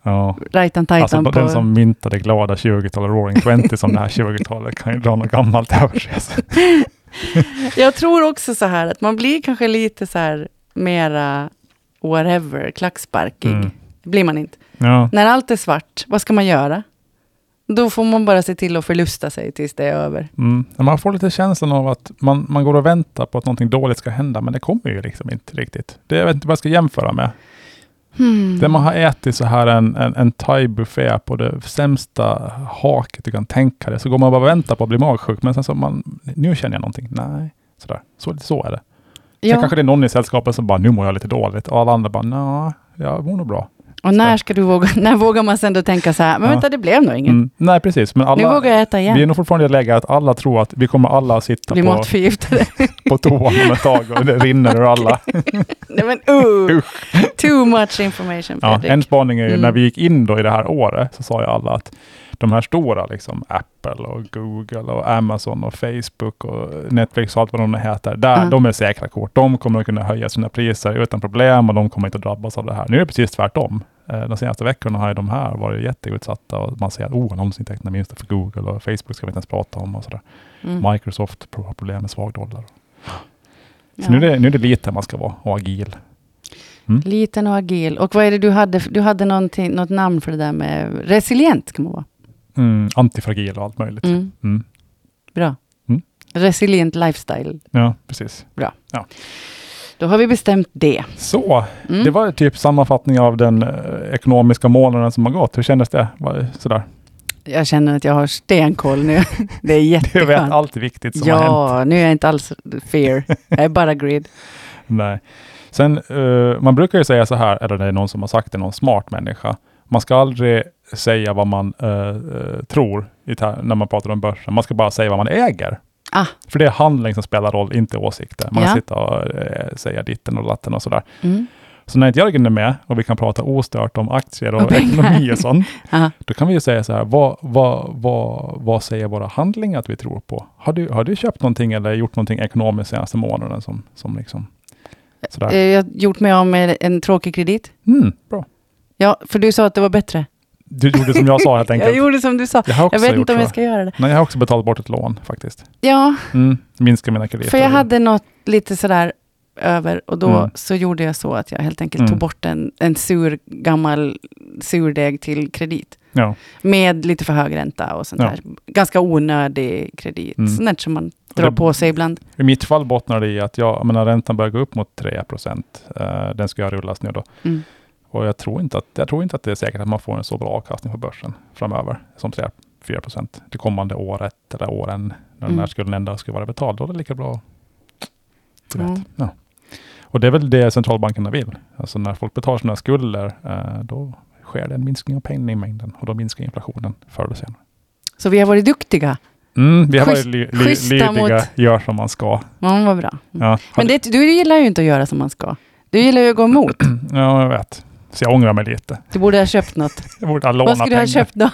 Speaker 2: Ja.
Speaker 1: right and tight
Speaker 2: Alltså
Speaker 1: på...
Speaker 2: den som myntade glada 20-talet, roaring 20 som det här 20-talet kan ju dra något gammalt över
Speaker 1: *laughs*
Speaker 2: sig. Alltså.
Speaker 1: Jag tror också så här att man blir kanske lite så här mera whatever, klacksparkig.
Speaker 2: Mm.
Speaker 1: Det blir man inte.
Speaker 2: Ja.
Speaker 1: När allt är svart, vad ska man göra? Då får man bara se till att förlusta sig tills det är över.
Speaker 2: Mm. Men Man får lite känslan av att man, man går och väntar på att någonting dåligt ska hända, men det kommer ju liksom inte riktigt. Det, jag vet inte vad jag ska jämföra med.
Speaker 1: Hmm.
Speaker 2: Där man har ätit så här en, en, en thai-buffé på det sämsta haket du kan tänka dig, så går man och bara och väntar på att bli magsjuk, men sen så man, nu känner jag någonting. Nej, sådär. Så, så är det. Sen
Speaker 1: ja.
Speaker 2: kanske det är någon i sällskapet som bara, nu mår jag lite dåligt, och alla andra bara, nej, jag mår nog bra.
Speaker 1: Och när ska du våga, *laughs* när vågar man sen då tänka så här, men
Speaker 2: Ja.
Speaker 1: vänta det blev nog inget.
Speaker 2: Mm. Nej, precis. Men
Speaker 1: Nu
Speaker 2: alla,
Speaker 1: vågar jag äta igen.
Speaker 2: vi är nog fortfarande i det läget att alla tror att vi kommer alla sitta
Speaker 1: Bli
Speaker 2: på,
Speaker 1: matförgiftade. *laughs*
Speaker 2: på toan om ett tag och det rinner ur alla.
Speaker 1: Nej men
Speaker 2: *laughs*
Speaker 1: uh, too much information
Speaker 2: Ja,
Speaker 1: Fredrik.
Speaker 2: en spaning är ju
Speaker 1: Mm.
Speaker 2: när vi gick in då i det här året så sa ju alla att de här stora, liksom Apple och Google och Amazon och Facebook och Netflix och allt vad de nu heter, där,
Speaker 1: Mm.
Speaker 2: de är säkra kort. De kommer att kunna höja sina priser utan problem och de kommer inte att drabbas av det här. Nu är det precis tvärtom. Eh, De senaste veckorna har ju de här varit jätteutsatta och man ser att oh, annonsintäkterna minskar för Google och Facebook ska vi inte ens prata om och sådär.
Speaker 1: Mm.
Speaker 2: Microsoft har problem med svag dollar. Så
Speaker 1: Ja.
Speaker 2: nu, är det, nu är det lite man ska vara och agil.
Speaker 1: Liten och agil. Och vad är det du hade? Du hade någonting, något namn för det där med resilient, kan man vara.
Speaker 2: Mm, antifragil och allt möjligt.
Speaker 1: Mm.
Speaker 2: Mm.
Speaker 1: Bra.
Speaker 2: Mm.
Speaker 1: Resilient lifestyle.
Speaker 2: Ja, precis.
Speaker 1: Då har vi bestämt det.
Speaker 2: Så,
Speaker 1: Mm.
Speaker 2: Det var typ sammanfattning av den eh, ekonomiska månaden som har gått. Hur kändes det? Var det sådär? *laughs*
Speaker 1: Jag känner att jag har stenkoll nu. Det är
Speaker 2: Du vet
Speaker 1: jätteskönt.
Speaker 2: allt viktigt som har hänt.
Speaker 1: Ja, nu är jag inte alls fear. Jag är bara grid.
Speaker 2: Nej. Sen, eh, man brukar ju säga så här, eller det är någon som har sagt det, någon smart människa. Man ska aldrig säga vad man eh, eh, tror i ter- när man pratar om börsen. Man ska bara säga vad man äger.
Speaker 1: Ah.
Speaker 2: För det är handling som spelar roll, inte åsikter. Man
Speaker 1: Ja.
Speaker 2: kan sitta och eh, säga ditten och latten och sådär.
Speaker 1: Mm.
Speaker 2: Så när inte Jörgen är med och vi kan prata ostört om aktier och,
Speaker 1: Och pengar.
Speaker 2: ekonomi och sånt,
Speaker 1: Ja.
Speaker 2: då kan vi ju säga så här, vad, vad, vad, vad säger våra handlingar att vi tror på? Har du, har du köpt någonting eller gjort någonting ekonomiskt senaste månaden som, som liksom
Speaker 1: Eh,
Speaker 2: sådär?
Speaker 1: Jag har gjort mig av med en tråkig kredit.
Speaker 2: Mm, bra.
Speaker 1: Ja, för du sa att det var bättre.
Speaker 2: Du gjorde som jag sa
Speaker 1: *laughs*
Speaker 2: helt
Speaker 1: Jag
Speaker 2: enkelt.
Speaker 1: gjorde som du sa.
Speaker 2: Jag har också
Speaker 1: Jag vet
Speaker 2: gjort
Speaker 1: inte om
Speaker 2: så.
Speaker 1: jag ska göra det.
Speaker 2: Nej, jag har också betalat bort ett lån faktiskt.
Speaker 1: Ja,
Speaker 2: Mm, minska mina krediter.
Speaker 1: För jag hade något lite sådär, över. Och då
Speaker 2: Mm.
Speaker 1: så gjorde jag så att jag helt enkelt
Speaker 2: Mm.
Speaker 1: tog bort en, en sur gammal surdeg till kredit.
Speaker 2: Ja.
Speaker 1: Med lite för hög ränta och sånt
Speaker 2: Ja.
Speaker 1: där. Ganska onödig kredit.
Speaker 2: Mm.
Speaker 1: Sånt där som man drar
Speaker 2: det-
Speaker 1: på sig ibland.
Speaker 2: I mitt fall bottnar det i att jag, jag menar, räntan börjar gå upp mot 3 procent. Eh, den ska jag rullas nu då.
Speaker 1: Mm.
Speaker 2: Och jag tror, inte att, jag tror inte att det är säkert att man får en så bra avkastning på börsen framöver som 3-4 procent det kommande året eller åren när den
Speaker 1: Mm.
Speaker 2: här skulden ändå ska vara betald. Då är det lika bra. Du vet.
Speaker 1: Ja.
Speaker 2: Ja. Och det är väl det centralbankerna vill. Alltså när folk betalar sina skulder, eh, då sker det en minskning av penningmängden och då minskar inflationen förr eller senare.
Speaker 1: Så vi har varit duktiga.
Speaker 2: Mm, vi har varit
Speaker 1: Schysst-
Speaker 2: ly- ly-
Speaker 1: schyssta
Speaker 2: lydiga,
Speaker 1: mot-
Speaker 2: gör som man ska.
Speaker 1: Ja, vad bra. Mm.
Speaker 2: Ja.
Speaker 1: Men det, du gillar ju inte att göra som man ska. Du gillar ju att gå emot.
Speaker 2: Ja, jag vet. Så jag ångrar mig lite.
Speaker 1: Du borde ha köpt något.
Speaker 2: Jag borde ha
Speaker 1: Vad
Speaker 2: lånat
Speaker 1: skulle du
Speaker 2: pengar.
Speaker 1: ha köpt
Speaker 2: *laughs*
Speaker 1: då?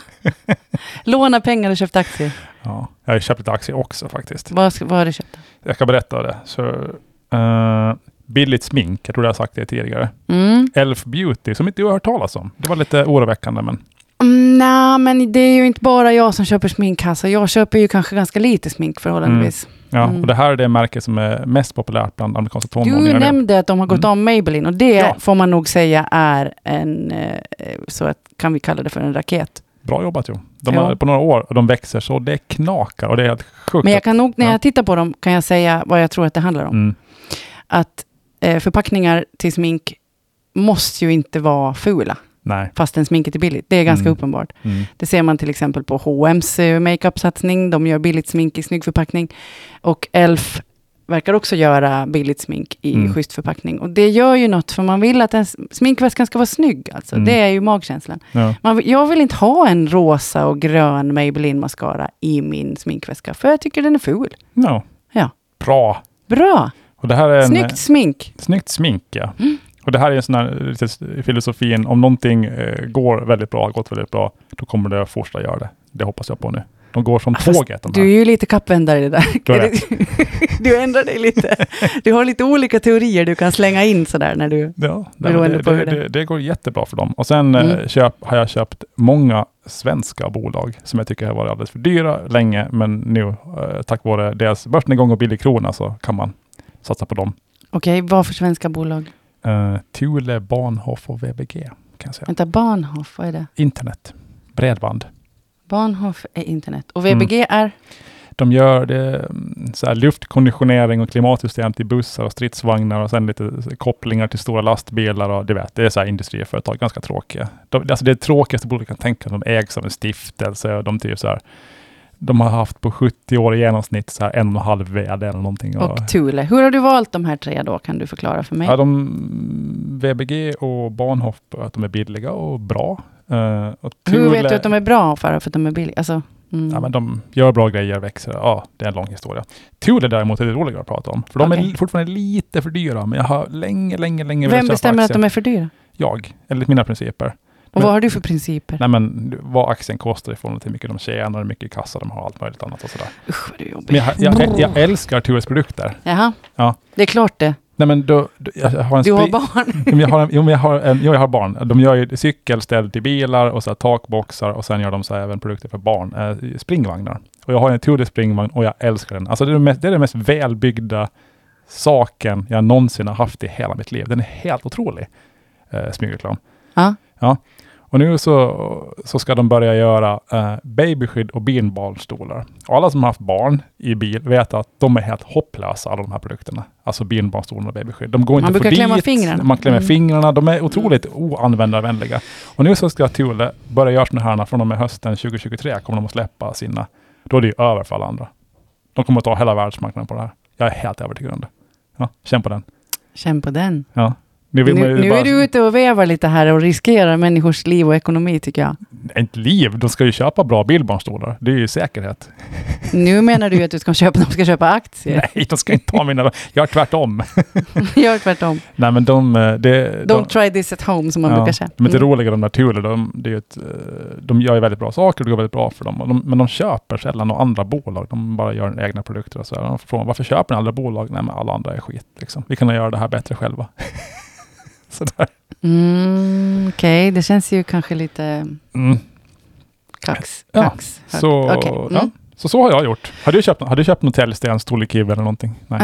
Speaker 1: Låna pengar och köpt aktier.
Speaker 2: Ja, jag har ju köpt lite aktier också faktiskt.
Speaker 1: Vad, sk- vad har du köpt?
Speaker 2: Jag ska berätta det. Så, eh, billigt smink, jag tror jag har sagt det tidigare.
Speaker 1: Mm.
Speaker 2: Elf Beauty, som inte jag har hört talas om. Det var lite oroväckande, men
Speaker 1: Mm, Nej, men det är ju inte bara jag som köper smink. Alltså. Jag köper ju kanske ganska lite smink förhållandevis.
Speaker 2: ja.
Speaker 1: Mm.
Speaker 2: Och det här är det märke som är mest populärt bland amerikanska
Speaker 1: Du
Speaker 2: tonåringar nu.
Speaker 1: nämnde att de har gått
Speaker 2: Mm.
Speaker 1: om Maybelline och det
Speaker 2: Ja.
Speaker 1: får man nog säga är en, eh, eh, så att, kan vi kalla det för en raket.
Speaker 2: Bra jobbat Jo. De
Speaker 1: Ja.
Speaker 2: har på några år och de växer så det knakar och det är helt sjukt.
Speaker 1: Men jag kan nog, när
Speaker 2: Ja.
Speaker 1: jag tittar på dem, kan jag säga vad jag tror att det handlar om.
Speaker 2: mm.
Speaker 1: Att eh, förpackningar till smink måste ju inte vara fula,
Speaker 2: Nej.
Speaker 1: fastän sminket är billigt. Det är ganska
Speaker 2: Mm.
Speaker 1: uppenbart.
Speaker 2: Mm.
Speaker 1: Det ser man till exempel på H&M's eh, makeup-satsning. De gör billigt smink i snygg förpackning. Och Elf verkar också göra billigt smink i
Speaker 2: Mm.
Speaker 1: schysst förpackning. Och det gör ju något, för man vill att ens sminkväskan ska vara snygg. Alltså.
Speaker 2: Mm.
Speaker 1: Det är ju magkänslan.
Speaker 2: Ja.
Speaker 1: Man, vill- jag vill inte ha en rosa och grön Maybelline mascara i min sminkväska, för jag tycker den är ful.
Speaker 2: Ja.
Speaker 1: Ja.
Speaker 2: Bra.
Speaker 1: Bra!
Speaker 2: Och det här är en,
Speaker 1: Snyggt smink.
Speaker 2: Snyggt smink, ja.
Speaker 1: Mm.
Speaker 2: Och det här är en sån här lite s- filosofin, om någonting eh, går väldigt bra, har gått väldigt bra, då kommer det att fortsätta göra det. Det hoppas jag på nu. De går som
Speaker 1: Ah, fast
Speaker 2: tåget. De
Speaker 1: Du är
Speaker 2: här.
Speaker 1: ju lite kappvändare i det där.
Speaker 2: Du
Speaker 1: *laughs*
Speaker 2: har
Speaker 1: du ändrar dig lite. Du har lite olika teorier du kan slänga in sådär när du...
Speaker 2: Ja, det,
Speaker 1: Beroende
Speaker 2: det,
Speaker 1: på
Speaker 2: det,
Speaker 1: hur det-
Speaker 2: det, det går jättebra för dem. Och sen eh,
Speaker 1: Mm.
Speaker 2: köp, har jag köpt många svenska bolag som jag tycker har varit alldeles för dyra länge, men nu eh, tack vare deras börsnedgång och billig krona så kan man satsa på dem.
Speaker 1: Okej, vad för svenska bolag?
Speaker 2: Eh, Thule, Bahnhof och VBG kan jag säga.
Speaker 1: Vänta, Bahnhof, vad är det?
Speaker 2: Internet, bredband.
Speaker 1: Bahnhof är internet. Och VBG
Speaker 2: Mm.
Speaker 1: är?
Speaker 2: De gör det, mm, så här, luftkonditionering och klimatsystem till bussar och stridsvagnar och sen lite kopplingar till stora lastbilar och det vet, det är så här industriföretag, ganska tråkiga. De, alltså det tråkigaste bolaget jag kan tänka mig, de ägs av en stiftelse och de typ så här, de har haft på 70 år i genomsnitt så här en och en halv vd eller någonting.
Speaker 1: Och Thule. Hur har du valt de här tre då? Kan du förklara för mig?
Speaker 2: Ja, de, mm, VBG och Bahnhof, att de är billiga och bra. Eh, och
Speaker 1: Hur vet
Speaker 2: Thule-
Speaker 1: du att de är bra för, för att de är billiga? Alltså, mm.
Speaker 2: Ja, men de gör bra grejer, växer. Ja, det är en lång historia. Thule däremot är det roligare att prata om, för de
Speaker 1: Okej.
Speaker 2: är fortfarande lite för dyra, men jag har länge, länge, länge
Speaker 1: Vem bestämmer att de är för dyra?
Speaker 2: Jag, enligt mina principer.
Speaker 1: Och
Speaker 2: Men-
Speaker 1: vad har du för principer?
Speaker 2: Nej, men vad aktien kostar i förhållande till hur mycket de tjänar, hur mycket kassa de har, allt möjligt annat och sådär.
Speaker 1: Usch, vad du är
Speaker 2: Men
Speaker 1: jobbig.
Speaker 2: jag, jag, jag älskar Thules produkter.
Speaker 1: Jaha,
Speaker 2: Ja.
Speaker 1: det är klart det.
Speaker 2: Nej, men då, då, jag har en
Speaker 1: Du har
Speaker 2: spri-
Speaker 1: barn.
Speaker 2: Jo, *laughs* men jag har, en- jo, men jag har, en, jo, jag har barn. De gör ju cykelställ till bilar och så här takboxar och sen gör de så här även produkter för barn. Eh, springvagnar. Och jag har en Tudor springvagn och jag älskar den. Alltså det är den mest, det är den mest välbyggda saken jag någonsin har haft i hela mitt liv. Den är helt otrolig. Eh, smygreklam.
Speaker 1: Ja.
Speaker 2: Och nu så, så ska de börja göra eh, babyskydd och binbarnstolar. Och alla som har haft barn i bil vet att de är helt hopplösa, alla de här produkterna. Alltså binbarnstolar och babyskydd. De går
Speaker 1: Man
Speaker 2: inte
Speaker 1: brukar
Speaker 2: förbi.
Speaker 1: klämma
Speaker 2: ett-
Speaker 1: fingrarna.
Speaker 2: Man klämmer
Speaker 1: Mm.
Speaker 2: fingrarna. De är otroligt oanvändarvänliga. Och nu så ska Thule börja göra sådana här från och med hösten 2023 kommer de att släppa sina. Då är det ju över för alla andra. De kommer att ta hela världsmarknaden på det här. Jag är helt övertygad om det. Ja, känn på den.
Speaker 1: Känn på den.
Speaker 2: Ja. Nu,
Speaker 1: Nu,
Speaker 2: vill man ju
Speaker 1: nu
Speaker 2: bara-
Speaker 1: är du ute och vevar lite här och riskerar människors liv och ekonomi tycker jag.
Speaker 2: Ett liv, de ska ju köpa bra bilbarnstolar. Det är ju säkerhet.
Speaker 1: Nu menar du ju att du ska köpa, de ska köpa aktier.
Speaker 2: Nej, de ska inte ha mina... Jag är tvärtom.
Speaker 1: *laughs* Gör tvärtom.
Speaker 2: Nej, men de... eh, Det,
Speaker 1: Don't try this at home som man
Speaker 2: ja,
Speaker 1: brukar säga.
Speaker 2: Men det
Speaker 1: Mm.
Speaker 2: roliga de där Thule, de, det är ju ett, eh, de gör ju väldigt bra saker, det går väldigt bra för dem. Och De, men de köper sällan av andra bolag, de bara gör egna produkter och så. Här. De frågar varför köper ni andra bolag? Nej, men alla andra är skit. Liksom. Vi kan göra det här bättre själva. *laughs* Sådär.
Speaker 1: Mm, Okej, det känns ju kanske lite
Speaker 2: Mm.
Speaker 1: kax.
Speaker 2: Ja,
Speaker 1: kax högt.
Speaker 2: Så,
Speaker 1: Okej, mm.
Speaker 2: ja. Så så har jag gjort. Har du köpt, har du köpt någon täljsten, storlekiv eller någonting? Nej.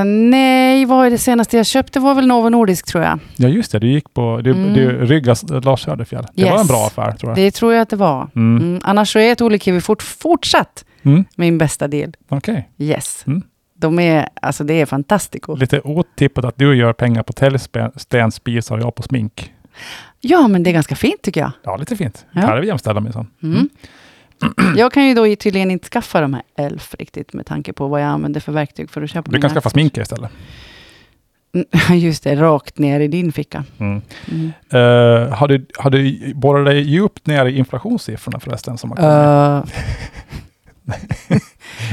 Speaker 1: Eh, nej, vad är det senaste jag köpte? var väl Novo Nordisk tror jag.
Speaker 2: Ja just det, du gick på du,
Speaker 1: Mm.
Speaker 2: du ryggas Lars Söderfjäll. Det var
Speaker 1: Yes.
Speaker 2: en bra affär tror jag.
Speaker 1: Det tror jag att det var.
Speaker 2: Mm.
Speaker 1: Mm. Annars så är ett Olikivi fort, fortsatt
Speaker 2: Mm.
Speaker 1: min bästa del.
Speaker 2: Okej,
Speaker 1: Yes.
Speaker 2: Mm.
Speaker 1: De är, alltså det är fantastico.
Speaker 2: lite otippat att du gör pengar på täljsten, spisar och jag på smink.
Speaker 1: Ja, men det är ganska fint tycker jag.
Speaker 2: Ja, lite fint.
Speaker 1: Ja.
Speaker 2: Här är vi jämställda minsann.
Speaker 1: Mm. *clears throat*
Speaker 2: Mm.
Speaker 1: Jag kan ju då tydligen inte skaffa de här Elf riktigt med tanke på vad jag använder för verktyg för att köpa
Speaker 2: Du
Speaker 1: mina. Mm,
Speaker 2: kan skaffa sminka istället.
Speaker 1: *laughs* Just det, rakt ner i din ficka.
Speaker 2: Mm.
Speaker 1: Mm.
Speaker 2: Eh, har, du, har du borrat dig djupt ner i inflationssiffrorna förresten? Som har kommit?
Speaker 1: Eh,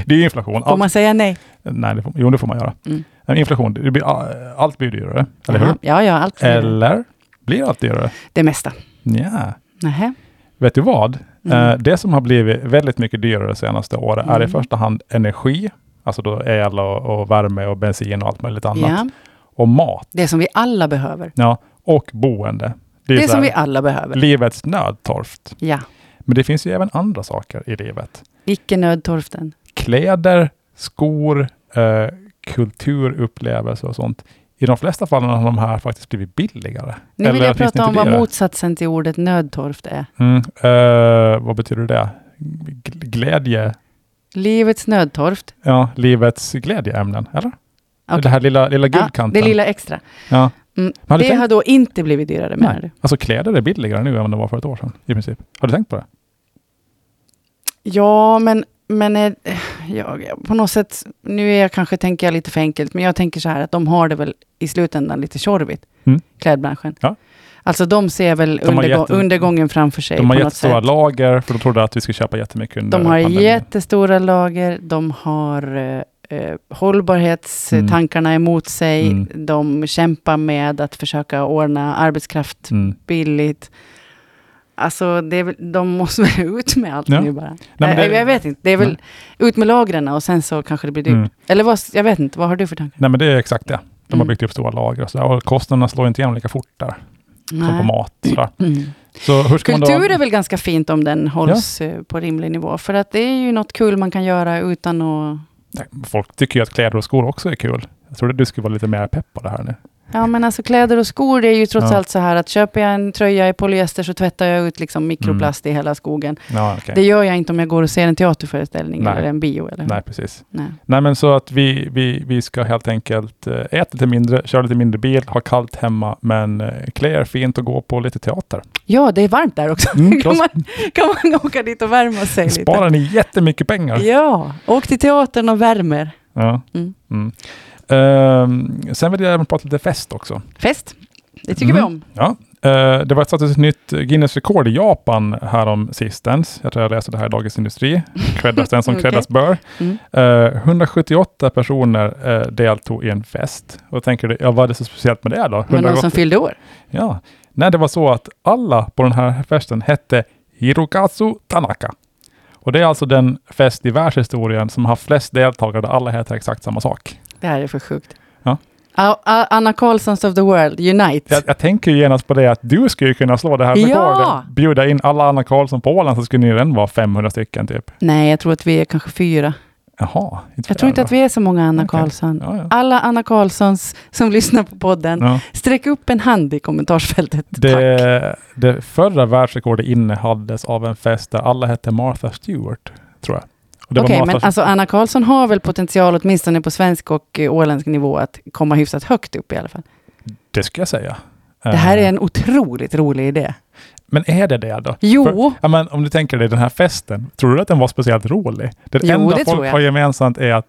Speaker 2: Det är ju inflation.
Speaker 1: får
Speaker 2: Allt,
Speaker 1: man säga nej?
Speaker 2: Nej, det får, jo, det får man göra.
Speaker 1: Mm.
Speaker 2: Men Inflation, det blir, a- allt blir dyrare. Eller hur?
Speaker 1: Jaha. Ja, ja, allt. blir det.
Speaker 2: Eller blir allt dyrare?
Speaker 1: Det mesta.
Speaker 2: Nja.
Speaker 1: Nähä.
Speaker 2: Vet du vad?
Speaker 1: Mm.
Speaker 2: Eh, Det som har blivit väldigt mycket dyrare de senaste åren är i
Speaker 1: Mm.
Speaker 2: första hand energi, alltså då el och, och värme och bensin och allt möjligt annat.
Speaker 1: Ja.
Speaker 2: Och mat.
Speaker 1: Det som vi alla behöver.
Speaker 2: Ja. Och boende. Det är Mm.
Speaker 1: Det
Speaker 2: så
Speaker 1: som vi
Speaker 2: här,
Speaker 1: alla behöver.
Speaker 2: livets nödtorft.
Speaker 1: Ja.
Speaker 2: Men det finns ju även andra saker i livet.
Speaker 1: Icke nödtorften.
Speaker 2: Kläder, skor, eh, kulturupplevelser och sånt. I de flesta fallen har de här faktiskt blivit billigare.
Speaker 1: Nu vill
Speaker 2: Eller
Speaker 1: jag
Speaker 2: åtminstone
Speaker 1: prata om
Speaker 2: inte
Speaker 1: vad
Speaker 2: dyrare.
Speaker 1: motsatsen till ordet nödtorft är.
Speaker 2: Mm, eh, vad betyder det? G- Glädje?
Speaker 1: Livets nödtorft.
Speaker 2: Ja, livets glädjeämnen, eller?
Speaker 1: Okej.
Speaker 2: Det här lilla, lilla
Speaker 1: Ja,
Speaker 2: guldkanten.
Speaker 1: det lilla extra.
Speaker 2: Ja.
Speaker 1: Mm,
Speaker 2: Men har du
Speaker 1: det
Speaker 2: tänkt-
Speaker 1: har då inte blivit dyrare menar du?
Speaker 2: Nej. Alltså kläder är billigare nu än det var för ett år sedan i princip. Har du tänkt på det?
Speaker 1: Ja, men, men eh, jag, på något sätt, nu är jag kanske, tänker jag lite för enkelt, men jag tänker så här att de har det väl i slutändan lite tjorvigt,
Speaker 2: Mm.
Speaker 1: klädbranschen.
Speaker 2: Ja.
Speaker 1: Alltså de ser väl
Speaker 2: har
Speaker 1: undergå-
Speaker 2: jätte-
Speaker 1: undergången framför sig
Speaker 2: De har
Speaker 1: Eh, på något
Speaker 2: jättestora
Speaker 1: sätt.
Speaker 2: lager, för de trodde att vi skulle köpa jättemycket under
Speaker 1: De har
Speaker 2: pandemin.
Speaker 1: jättestora lager, de har eh, eh, hållbarhetstankarna emot sig,
Speaker 2: Mm.
Speaker 1: de kämpar med att försöka ordna arbetskraft
Speaker 2: Mm.
Speaker 1: billigt. Alltså, det är väl, de måste väl ut med allt
Speaker 2: Ja.
Speaker 1: nu bara.
Speaker 2: Nej, men
Speaker 1: Nej,
Speaker 2: det-
Speaker 1: Eh, jag vet inte, det är väl ut med lagren och sen så kanske det blir dyrt.
Speaker 2: Mm.
Speaker 1: Eller vad, jag vet inte, vad har du för tankar?
Speaker 2: Nej men det är exakt det. De har
Speaker 1: Mm.
Speaker 2: byggt upp stora lager och, sådär. och kostnaderna slår inte igenom lika fort där som på
Speaker 1: Nej.
Speaker 2: mat. Sådär.
Speaker 1: Mm.
Speaker 2: Så hur ska man
Speaker 1: Kultur
Speaker 2: då...
Speaker 1: är väl ganska fint om den hålls eh, på rimlig nivå. För att det är ju något kul man kan göra utan att...
Speaker 2: Nej, Folk tycker ju att kläder och skor också är kul. Jag trodde du skulle vara lite mer pepp på det här nu.
Speaker 1: Ja men alltså kläder och skor, det är ju trots
Speaker 2: Ja.
Speaker 1: allt så här att köper jag en tröja i polyester så tvättar jag ut liksom mikroplast i hela skogen.
Speaker 2: Ja, Mm. okej.
Speaker 1: Det gör jag inte om jag går och ser en teaterföreställning
Speaker 2: Nej.
Speaker 1: eller en bio. Eller?
Speaker 2: Nej, precis.
Speaker 1: Nej.
Speaker 2: Nej, men så att vi, vi, vi ska helt enkelt eh, äta lite mindre, köra lite mindre bil, ha kallt hemma, men eh, klä er fint och gå på lite teater.
Speaker 1: Ja, det är varmt där också. *laughs* kan,
Speaker 2: Mm, då
Speaker 1: man, kan man åka dit och värma sig lite?
Speaker 2: sparar ni jättemycket pengar.
Speaker 1: Ja, åk till teatern och värmer.
Speaker 2: Ja.
Speaker 1: Mm.
Speaker 2: Mm. Ehm, sen vill jag även prata lite fest också.
Speaker 1: Fest, det tycker vi
Speaker 2: Mm.
Speaker 1: om.
Speaker 2: Eh, det var ett, sattes ett nytt Guinness rekord i Japan härom sistens. Jag tror jag läste det här i Dagens Industri. Creddas den
Speaker 1: *laughs*
Speaker 2: som
Speaker 1: Okej.
Speaker 2: creddas bör.
Speaker 1: Mm.
Speaker 2: Eh, 178 personer eh, deltog i en fest. Och då tänker du, ja, vad är det så speciellt med det då?
Speaker 1: Men någon
Speaker 2: 180
Speaker 1: som fyllde år.
Speaker 2: Ja. Nej, det var så att alla på den här festen hette Hirokazu Tanaka. Och det är alltså den fest i världshistorien som har flest deltagare där alla heter exakt samma sak.
Speaker 1: Det här är för sjukt.
Speaker 2: Ja.
Speaker 1: A- A- Anna Karlssons of the World, Unite.
Speaker 2: Jag, jag tänker ju genast på det att du skulle ju kunna slå det här
Speaker 1: Ja!
Speaker 2: rekordet. Bjuda in alla Anna Karlsson på Åland så skulle ni redan vara 500 stycken typ.
Speaker 1: Nej, jag tror att vi är kanske fyra.
Speaker 2: Jaha. Inte
Speaker 1: Jag tror inte att vi är så många Anna
Speaker 2: Okej.
Speaker 1: Karlsson.
Speaker 2: Ja, ja.
Speaker 1: Alla Anna Karlssons som *laughs* lyssnar på podden,
Speaker 2: Ja.
Speaker 1: sträck upp en hand i kommentarsfältet. Tack.
Speaker 2: Det, det förra världsrekordet innehades av en fest där alla hette Martha Stewart, tror jag. Och det var
Speaker 1: Okej,
Speaker 2: Martha
Speaker 1: men alltså Anna Karlsson har väl potential, åtminstone på svensk och eh, åländsk nivå, att komma hyfsat högt upp i alla fall.
Speaker 2: Det ska jag säga.
Speaker 1: alltså-
Speaker 2: Eh,
Speaker 1: Det här är en otroligt rolig idé.
Speaker 2: Men är det det då?
Speaker 1: Jo,
Speaker 2: För- Ja, men om du tänker dig den här festen, tror du att den var speciellt rolig? Det
Speaker 1: Jo,
Speaker 2: enda
Speaker 1: det tror
Speaker 2: folk
Speaker 1: jag.
Speaker 2: har gemensamt är att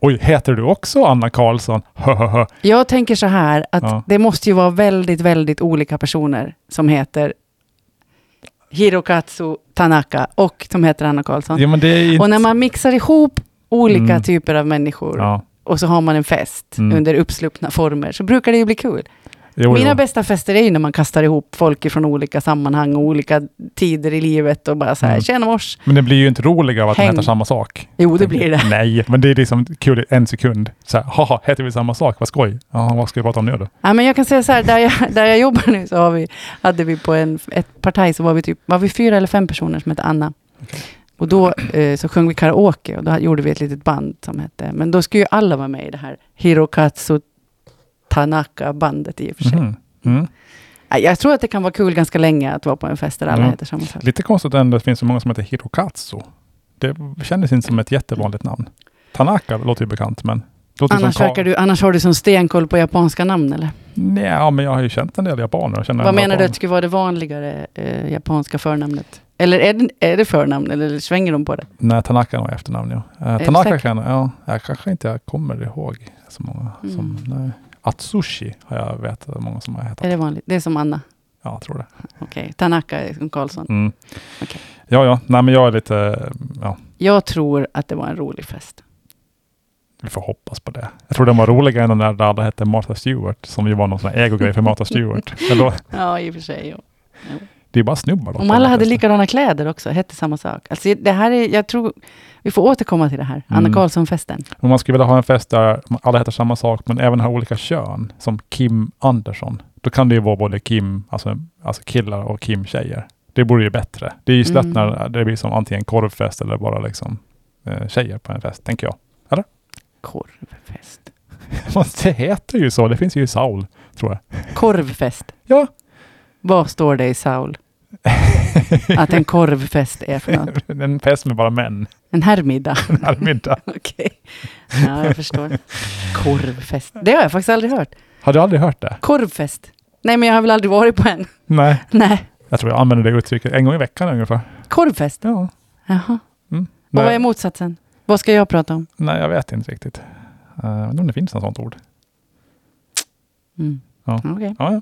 Speaker 2: oj, heter du också Anna Karlsson? Höhöhö.
Speaker 1: jag tänker så här att
Speaker 2: Ja.
Speaker 1: det måste ju vara väldigt, väldigt olika personer som heter Hirokatsu Tanaka och som heter Anna Karlsson.
Speaker 2: ja, men det är inte...
Speaker 1: Och när man mixar ihop olika
Speaker 2: Mm.
Speaker 1: typer av människor
Speaker 2: ja.
Speaker 1: och så har man en fest
Speaker 2: Mm.
Speaker 1: under uppsluppna former så brukar det ju bli kul.
Speaker 2: jo,
Speaker 1: Mina
Speaker 2: jo.
Speaker 1: bästa fester är ju när man kastar ihop folk från olika sammanhang och olika tider i livet och bara så här,
Speaker 2: Mm.
Speaker 1: tjena mors.
Speaker 2: Men det blir ju inte roligare av att de
Speaker 1: Häng.
Speaker 2: heter samma sak.
Speaker 1: Jo, det blir det.
Speaker 2: *laughs* Nej, men det är liksom kul i en sekund. Så här, haha, heter vi samma sak? Vad skoj. Ja, vad ska vi prata om nu då?
Speaker 1: Ja, men jag kan säga så här, där jag, *laughs* där jag jobbar nu så har vi, hade vi på en, ett parti så var vi typ, var vi fyra eller fem personer som hette Anna. Och då eh, så sjöng vi karaoke och då gjorde vi ett litet band som hette, men då skulle ju alla vara med i det här Hirokatsu Tanaka-bandet i och för sig.
Speaker 2: Mhm. Mm.
Speaker 1: Nej, Jag tror att det kan vara kul ganska länge att vara på en fest där alla
Speaker 2: Mm.
Speaker 1: heter samma sak.
Speaker 2: Lite konstigt ändå att det finns så många som heter Hirokatsu. Det kändes inte som ett jättevanligt namn. Tanaka låter ju bekant, men... det Låter
Speaker 1: Annars,
Speaker 2: som Ka-
Speaker 1: verkar du, annars har du som stenkoll på japanska namn eller?
Speaker 2: Nej, ja, men jag har ju känt en del japaner. Jag känner
Speaker 1: Vad
Speaker 2: en
Speaker 1: menar du
Speaker 2: japan.
Speaker 1: att det skulle vara det vanligare eh, japanska förnamnet? Eller är det, är det förnamn eller svänger de på det?
Speaker 2: Nej, Tanaka var efternamn, ja. Eh,
Speaker 1: du
Speaker 2: Tanaka
Speaker 1: säker?
Speaker 2: kan... Ja, jag kanske inte jag kommer ihåg så många som... Nej. Atsushi har jag vetat många som har hetat.
Speaker 1: Mm. Är det vanligt? Det är som Anna.
Speaker 2: Ja, jag tror det.
Speaker 1: Okej, Tanaka är som Karlsson.
Speaker 2: Mm.
Speaker 1: Okej.
Speaker 2: Ja, ja. Nej, men jag är lite... Ja,
Speaker 1: Jag tror att det var en rolig fest.
Speaker 2: vi får hoppas på det. Jag tror den var roligare än den där där alla hette Martha Stewart, som ju var någon sån här ägogrej för
Speaker 1: *laughs*
Speaker 2: Martha Stewart. Men då,
Speaker 1: Ja, i och för sig. Ja.
Speaker 2: det är bara snubbar. då.
Speaker 1: Om alla hade likadana kläder också, hette samma sak. Alltså det här är, jag tror, vi får återkomma till det här. Anna
Speaker 2: Mm.
Speaker 1: Karlsson-festen.
Speaker 2: Om man skulle vilja ha en fest där alla heter samma sak, men även har olika kön, som Kim Andersson, då kan det ju vara både Kim, alltså, alltså killar och Kim tjejer. Det vore ju bättre. Det är ju slött
Speaker 1: Mm.
Speaker 2: när det blir som antingen korvfest eller bara liksom eh, tjejer på en fest, tänker jag. *laughs*
Speaker 1: Korvfest.
Speaker 2: Man- det heter ju så. Det finns ju i Saul, tror jag.
Speaker 1: Korvfest.
Speaker 2: Ja.
Speaker 1: Vad står det i
Speaker 2: *laughs*
Speaker 1: Saul? Att en korvfest är för något?
Speaker 2: en fest med bara män.
Speaker 1: En
Speaker 2: *laughs*
Speaker 1: herrmiddag.
Speaker 2: Den här middag.
Speaker 1: Okej. Ja, jag förstår. Korvfest. Det har jag faktiskt aldrig hört.
Speaker 2: Har du aldrig hört det?
Speaker 1: Korvfest. Nej, men jag har väl aldrig varit på en.
Speaker 2: Nej.
Speaker 1: Nej.
Speaker 2: Jag tror jag använder det uttrycket en gång i veckan ungefär.
Speaker 1: Korvfest.
Speaker 2: Ja.
Speaker 1: Jaha. Och vad är
Speaker 2: Nej,
Speaker 1: motsatsen? Vad ska jag prata om?
Speaker 2: nej, jag vet inte riktigt. Eh, Jag vet inte om det finns något sånt ord.
Speaker 1: Mm.
Speaker 2: Ja.
Speaker 1: Okej.
Speaker 2: Ja, ja.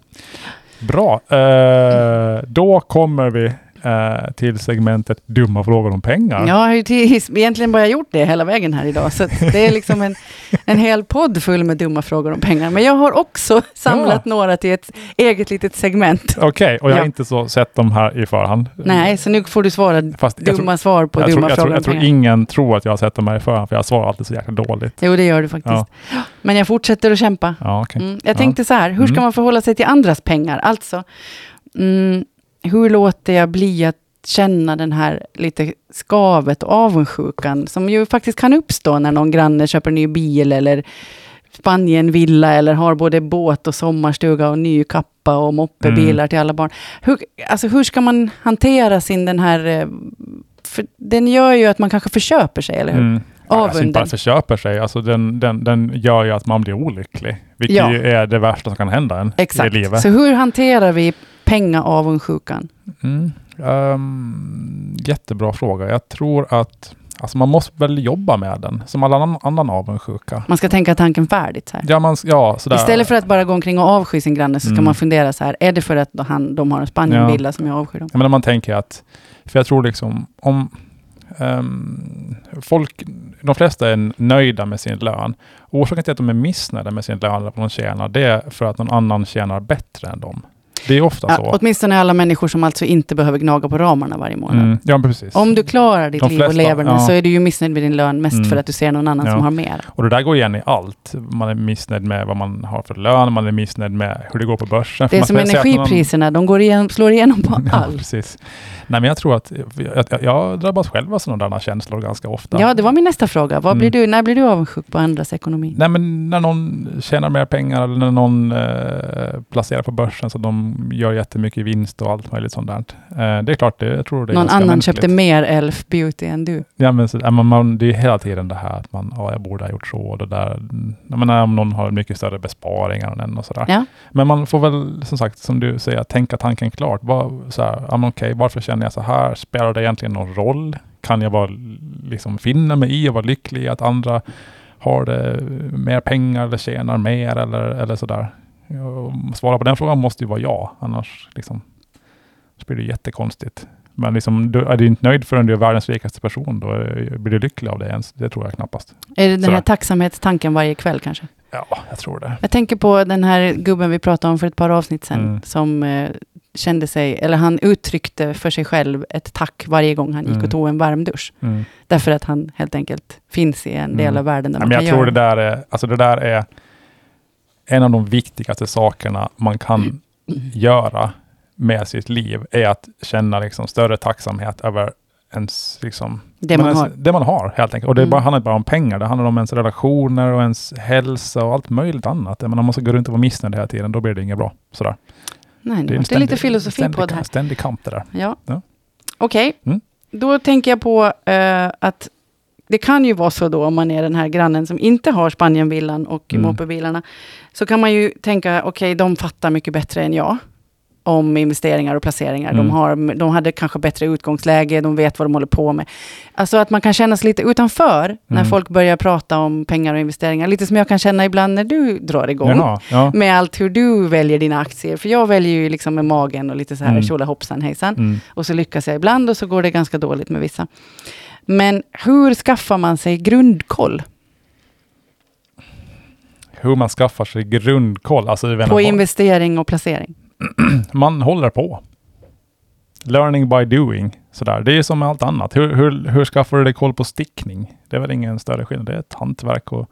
Speaker 2: Bra. Eh, då kommer vi eh, till segmentet dumma frågor om pengar.
Speaker 1: Ja, Jag har ju till, *laughs* egentligen bara gjort det hela vägen här idag, så att det är liksom
Speaker 2: *laughs*
Speaker 1: en, en hel podd full med dumma frågor om pengar. Men jag har också *laughs* samlat några till ett eget litet segment.
Speaker 2: Okej, och jag har
Speaker 1: Ja.
Speaker 2: inte så sett dem här i förhand.
Speaker 1: Nej, så nu får du svara
Speaker 2: Fast Mm. jag tror,
Speaker 1: dumma svar på
Speaker 2: jag,
Speaker 1: dumma
Speaker 2: tror,
Speaker 1: frågor
Speaker 2: jag, tror, jag
Speaker 1: om
Speaker 2: tror
Speaker 1: pengar.
Speaker 2: ingen tror att jag har sett dem här i förhand, för jag svarar alltid så jäkla dåligt.
Speaker 1: Jo, det gör du faktiskt. Men jag fortsätter att kämpa.
Speaker 2: Ja, okej.
Speaker 1: Mm. Jag tänkte så här, hur ska
Speaker 2: Mm.
Speaker 1: man förhålla sig till andras pengar? Alltså, mm, hur låter jag bli att känna den här lite skavet och avundsjukan som ju faktiskt kan uppstå när någon granne köper ny bil eller Spanien villa eller har både båt och sommarstuga och ny kappa och moppebilar
Speaker 2: Mm.
Speaker 1: till alla barn. Hur, alltså hur ska man hantera sin den här... eh, För den gör ju att man kanske förköper sig, eller hur?
Speaker 2: Mm. Alltså inte
Speaker 1: Avunden.
Speaker 2: bara förköper sig, alltså den, den, den gör ju att man blir olycklig. Vilket
Speaker 1: Ja.
Speaker 2: ju är det värsta som kan hända en i livet.
Speaker 1: Exakt. Så hur hanterar vi pengaavundsjukan?
Speaker 2: Mm. Ehm, jättebra fråga. Jag tror att alltså man måste väl jobba med den, som all annan, annan avundsjuka.
Speaker 1: Man ska tänka tanken färdigt. Så här.
Speaker 2: Ja, man, ja, sådär.
Speaker 1: Istället för att bara gå omkring och avsky sin granne så ska
Speaker 2: Mm.
Speaker 1: man fundera så här, är det för att då han, de har en Spanienvilla som jag avskyr dem?
Speaker 2: Jag menar, man tänker att... För jag tror liksom om... ehm, folk, de flesta är nöjda med sin lön. Orsaken till att de är missnöjda med sin lön, eller vad de tjänar, det är för att någon annan tjänar bättre än dem. Det är ofta
Speaker 1: Ja,
Speaker 2: så.
Speaker 1: åtminstone alla människor som alltså inte behöver gnaga på ramarna varje månad.
Speaker 2: Mm, ja, men precis.
Speaker 1: Om du klarar ditt
Speaker 2: De
Speaker 1: liv och
Speaker 2: flesta,
Speaker 1: lever nu
Speaker 2: ja.
Speaker 1: så är du ju missnöjd med din lön mest
Speaker 2: Mm.
Speaker 1: för att du ser någon annan
Speaker 2: Ja.
Speaker 1: som har mer.
Speaker 2: Och det där går igen i allt. Man är missnöjd med vad man har för lön, man är missnöjd med hur det går på börsen. För
Speaker 1: Det är
Speaker 2: man
Speaker 1: som
Speaker 2: ska säga att
Speaker 1: energipriserna, de går igen, slår igenom på
Speaker 2: någon- *laughs* Ja,
Speaker 1: allt.
Speaker 2: precis. Nej, men jag tror att jag, jag, jag drabbas själv av sådana där känslor ganska ofta.
Speaker 1: Ja, det var min nästa fråga. Vad blir
Speaker 2: Mm.
Speaker 1: du, när blir du avundsjuk på andras ekonomi?
Speaker 2: Nej, men när någon tjänar mer pengar eller när någon eh, placerar på börsen så de gör jättemycket vinst och allt möjligt sånt där. Eh, det är klart, det, jag tror det är
Speaker 1: Någon
Speaker 2: ganska
Speaker 1: annan
Speaker 2: mänskligt.
Speaker 1: köpte mer Elf Beauty än du.
Speaker 2: Ja, men, så, ja, men man, det är hela tiden det här att man, ja, jag borde ha gjort så och det där. Jag menar, om någon har mycket större besparingar än en och sådär.
Speaker 1: Ja.
Speaker 2: Men man får väl, som sagt, som du säger, tänka tanken klart. Var, så här, ja, men okej, varför känner jag så här? Spelar det egentligen någon roll? Kan jag bara liksom finna mig i och vara lycklig i att andra har det, mer pengar eller tjänar mer eller, eller sådär? Ja, Svara på den frågan måste ju vara ja, annars liksom, så blir det jättekonstigt. Men liksom, du, är du inte nöjd förrän du är världens rikaste person, då eh, blir du lycklig av det ens. Det tror jag knappast.
Speaker 1: Är det den här
Speaker 2: Sådär.
Speaker 1: tacksamhetstanken varje kväll kanske?
Speaker 2: Ja, jag tror det.
Speaker 1: Jag tänker på den här gubben vi pratade om för ett par avsnitt sedan,
Speaker 2: Mm.
Speaker 1: som eh, kände sig, eller han uttryckte för sig själv ett tack varje gång han gick
Speaker 2: Mm.
Speaker 1: och tog en varm dusch.
Speaker 2: Mm.
Speaker 1: Därför att han helt enkelt finns i en del
Speaker 2: Mm.
Speaker 1: av världen där
Speaker 2: Nej,
Speaker 1: man
Speaker 2: men
Speaker 1: kan
Speaker 2: jag tror
Speaker 1: göra
Speaker 2: det där, är, alltså det där är en av de viktigaste sakerna man kan göra med sitt liv, är att känna liksom större tacksamhet över ens liksom,
Speaker 1: Det
Speaker 2: men
Speaker 1: man
Speaker 2: ens,
Speaker 1: har.
Speaker 2: det man har helt enkelt. Och det
Speaker 1: Mm.
Speaker 2: bara, handlar inte bara om pengar, det handlar om ens relationer och ens hälsa och allt möjligt annat. Jag menar, om man ska gå runt och vara missnöjd hela tiden, då blir det inget bra. Sådär.
Speaker 1: Nej, Mm, det,
Speaker 2: en
Speaker 1: det är lite filosofi
Speaker 2: ständig,
Speaker 1: på det här.
Speaker 2: kamp- ständig kamp det där.
Speaker 1: Ja.
Speaker 2: Ja.
Speaker 1: Okej,
Speaker 2: Mm.
Speaker 1: då tänker jag på eh, att det kan ju vara så då om man är den här grannen som inte har Spanienvillan och
Speaker 2: Mm.
Speaker 1: moppebilarna. Så kan man ju tänka, okej, de fattar mycket bättre än jag om investeringar och placeringar. De,
Speaker 2: Mm.
Speaker 1: har, de hade kanske bättre utgångsläge, de vet vad de håller på med. Alltså att man kan känna sig lite utanför när
Speaker 2: Mm.
Speaker 1: folk börjar prata om pengar och investeringar. Lite som jag kan känna ibland när du drar igång
Speaker 2: Jaha, ja.
Speaker 1: med allt hur du väljer dina aktier. För jag väljer ju liksom med magen och lite så här
Speaker 2: Mm.
Speaker 1: tjolahoppsan hejsan.
Speaker 2: Mm.
Speaker 1: Och så lyckas jag ibland och så går det ganska dåligt med vissa. Men hur skaffar man sig grundkoll
Speaker 2: Hur man skaffar sig grundkoll. Alltså, jag
Speaker 1: på
Speaker 2: menar,
Speaker 1: investering och placering?
Speaker 2: man håller på. Learning by doing. Sådär. Det är som med allt annat. Hur, hur, hur skaffar du dig koll på stickning? Det är väl ingen större skillnad. Det är ett hantverk och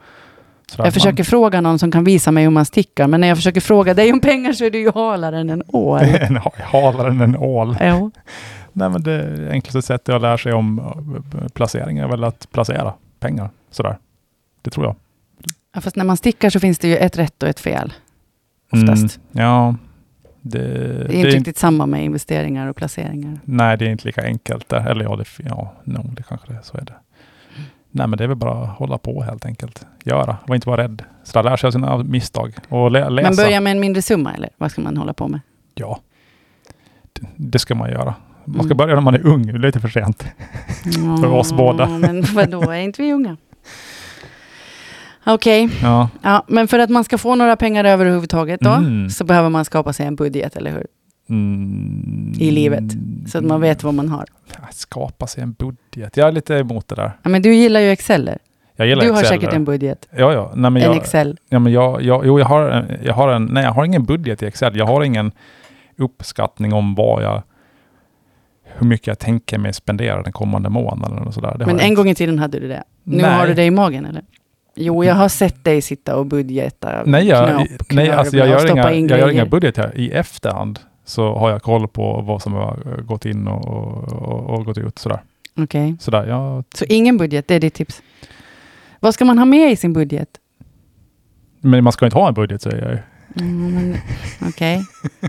Speaker 2: sådär.
Speaker 1: Jag försöker fråga någon som kan visa mig hur man stickar, men när jag försöker fråga dig om pengar så är du ju halare än en ål.
Speaker 2: *laughs* man, en ha- halare än en ål.
Speaker 1: Jo.
Speaker 2: Nej, men det enklaste sättet att lära sig om eh, placering är väl att placera pengar. Sådär. Det tror jag.
Speaker 1: Ja, fast när man stickar så finns det ju ett rätt och ett fel. Oftast.
Speaker 2: Mm. Ja. Det, det,
Speaker 1: Det är inte riktigt samma med investeringar och placeringar.
Speaker 2: Nej, det är inte lika enkelt. Där. Eller ja, det, ja no, det kanske det är. Så är det. Nej, men det är väl bara att hålla på helt enkelt. Göra, var inte vara rädd. Så där, lär sig av sina misstag och lä läsa.
Speaker 1: Men börja med en mindre summa, eller vad ska man hålla på med?
Speaker 2: Ja, det, det ska man göra. Man ska
Speaker 1: Mm.
Speaker 2: börja när man är ung, det är lite för sent. För oss båda.
Speaker 1: Ja, Men vadå, är inte vi
Speaker 2: *laughs*
Speaker 1: unga? Okej.
Speaker 2: Ja,
Speaker 1: Ja, men för att man ska få några pengar över överhuvudtaget då,
Speaker 2: Mm.
Speaker 1: så behöver man skapa sig en budget, eller hur?
Speaker 2: mm,
Speaker 1: I livet. Så att man vet vad man har.
Speaker 2: Ja, Skapa sig en budget. Jag är lite emot det där.
Speaker 1: Ja, men du gillar ju Exceler.
Speaker 2: Jag gillar
Speaker 1: Du har
Speaker 2: Excel.
Speaker 1: säkert en budget,
Speaker 2: Ja, ja. Nej, men
Speaker 1: en
Speaker 2: jag,
Speaker 1: Excel.
Speaker 2: Ja, men jag, jag, jo, jag har, en- jag har en, nej, jag har ingen budget i Excel. Jag har ingen uppskattning om vad jag, hur mycket jag tänker mig spendera den kommande månaden och sådär. Det har
Speaker 1: Men
Speaker 2: jag
Speaker 1: en
Speaker 2: inte.
Speaker 1: gång i tiden hade du det. Nu
Speaker 2: Nej.
Speaker 1: har du det i magen, eller? Jo, jag har sett dig sitta och budgeta.
Speaker 2: Nej, jag,
Speaker 1: knöp,
Speaker 2: nej
Speaker 1: knörvla
Speaker 2: alltså jag,
Speaker 1: och
Speaker 2: gör
Speaker 1: stoppa
Speaker 2: inga,
Speaker 1: in
Speaker 2: jag gör
Speaker 1: grejer.
Speaker 2: inga budgetar. I efterhand så har jag koll på vad som har eh, gått in och, och, och gått ut. Sådär.
Speaker 1: Okej.
Speaker 2: Sådär, jag,
Speaker 1: Så ingen budget, det är ditt tips. Vad ska man ha med i sin budget?
Speaker 2: men man ska inte ha en budget säger jag ju.
Speaker 1: Mm, men-
Speaker 2: *laughs*
Speaker 1: Okej. Ja,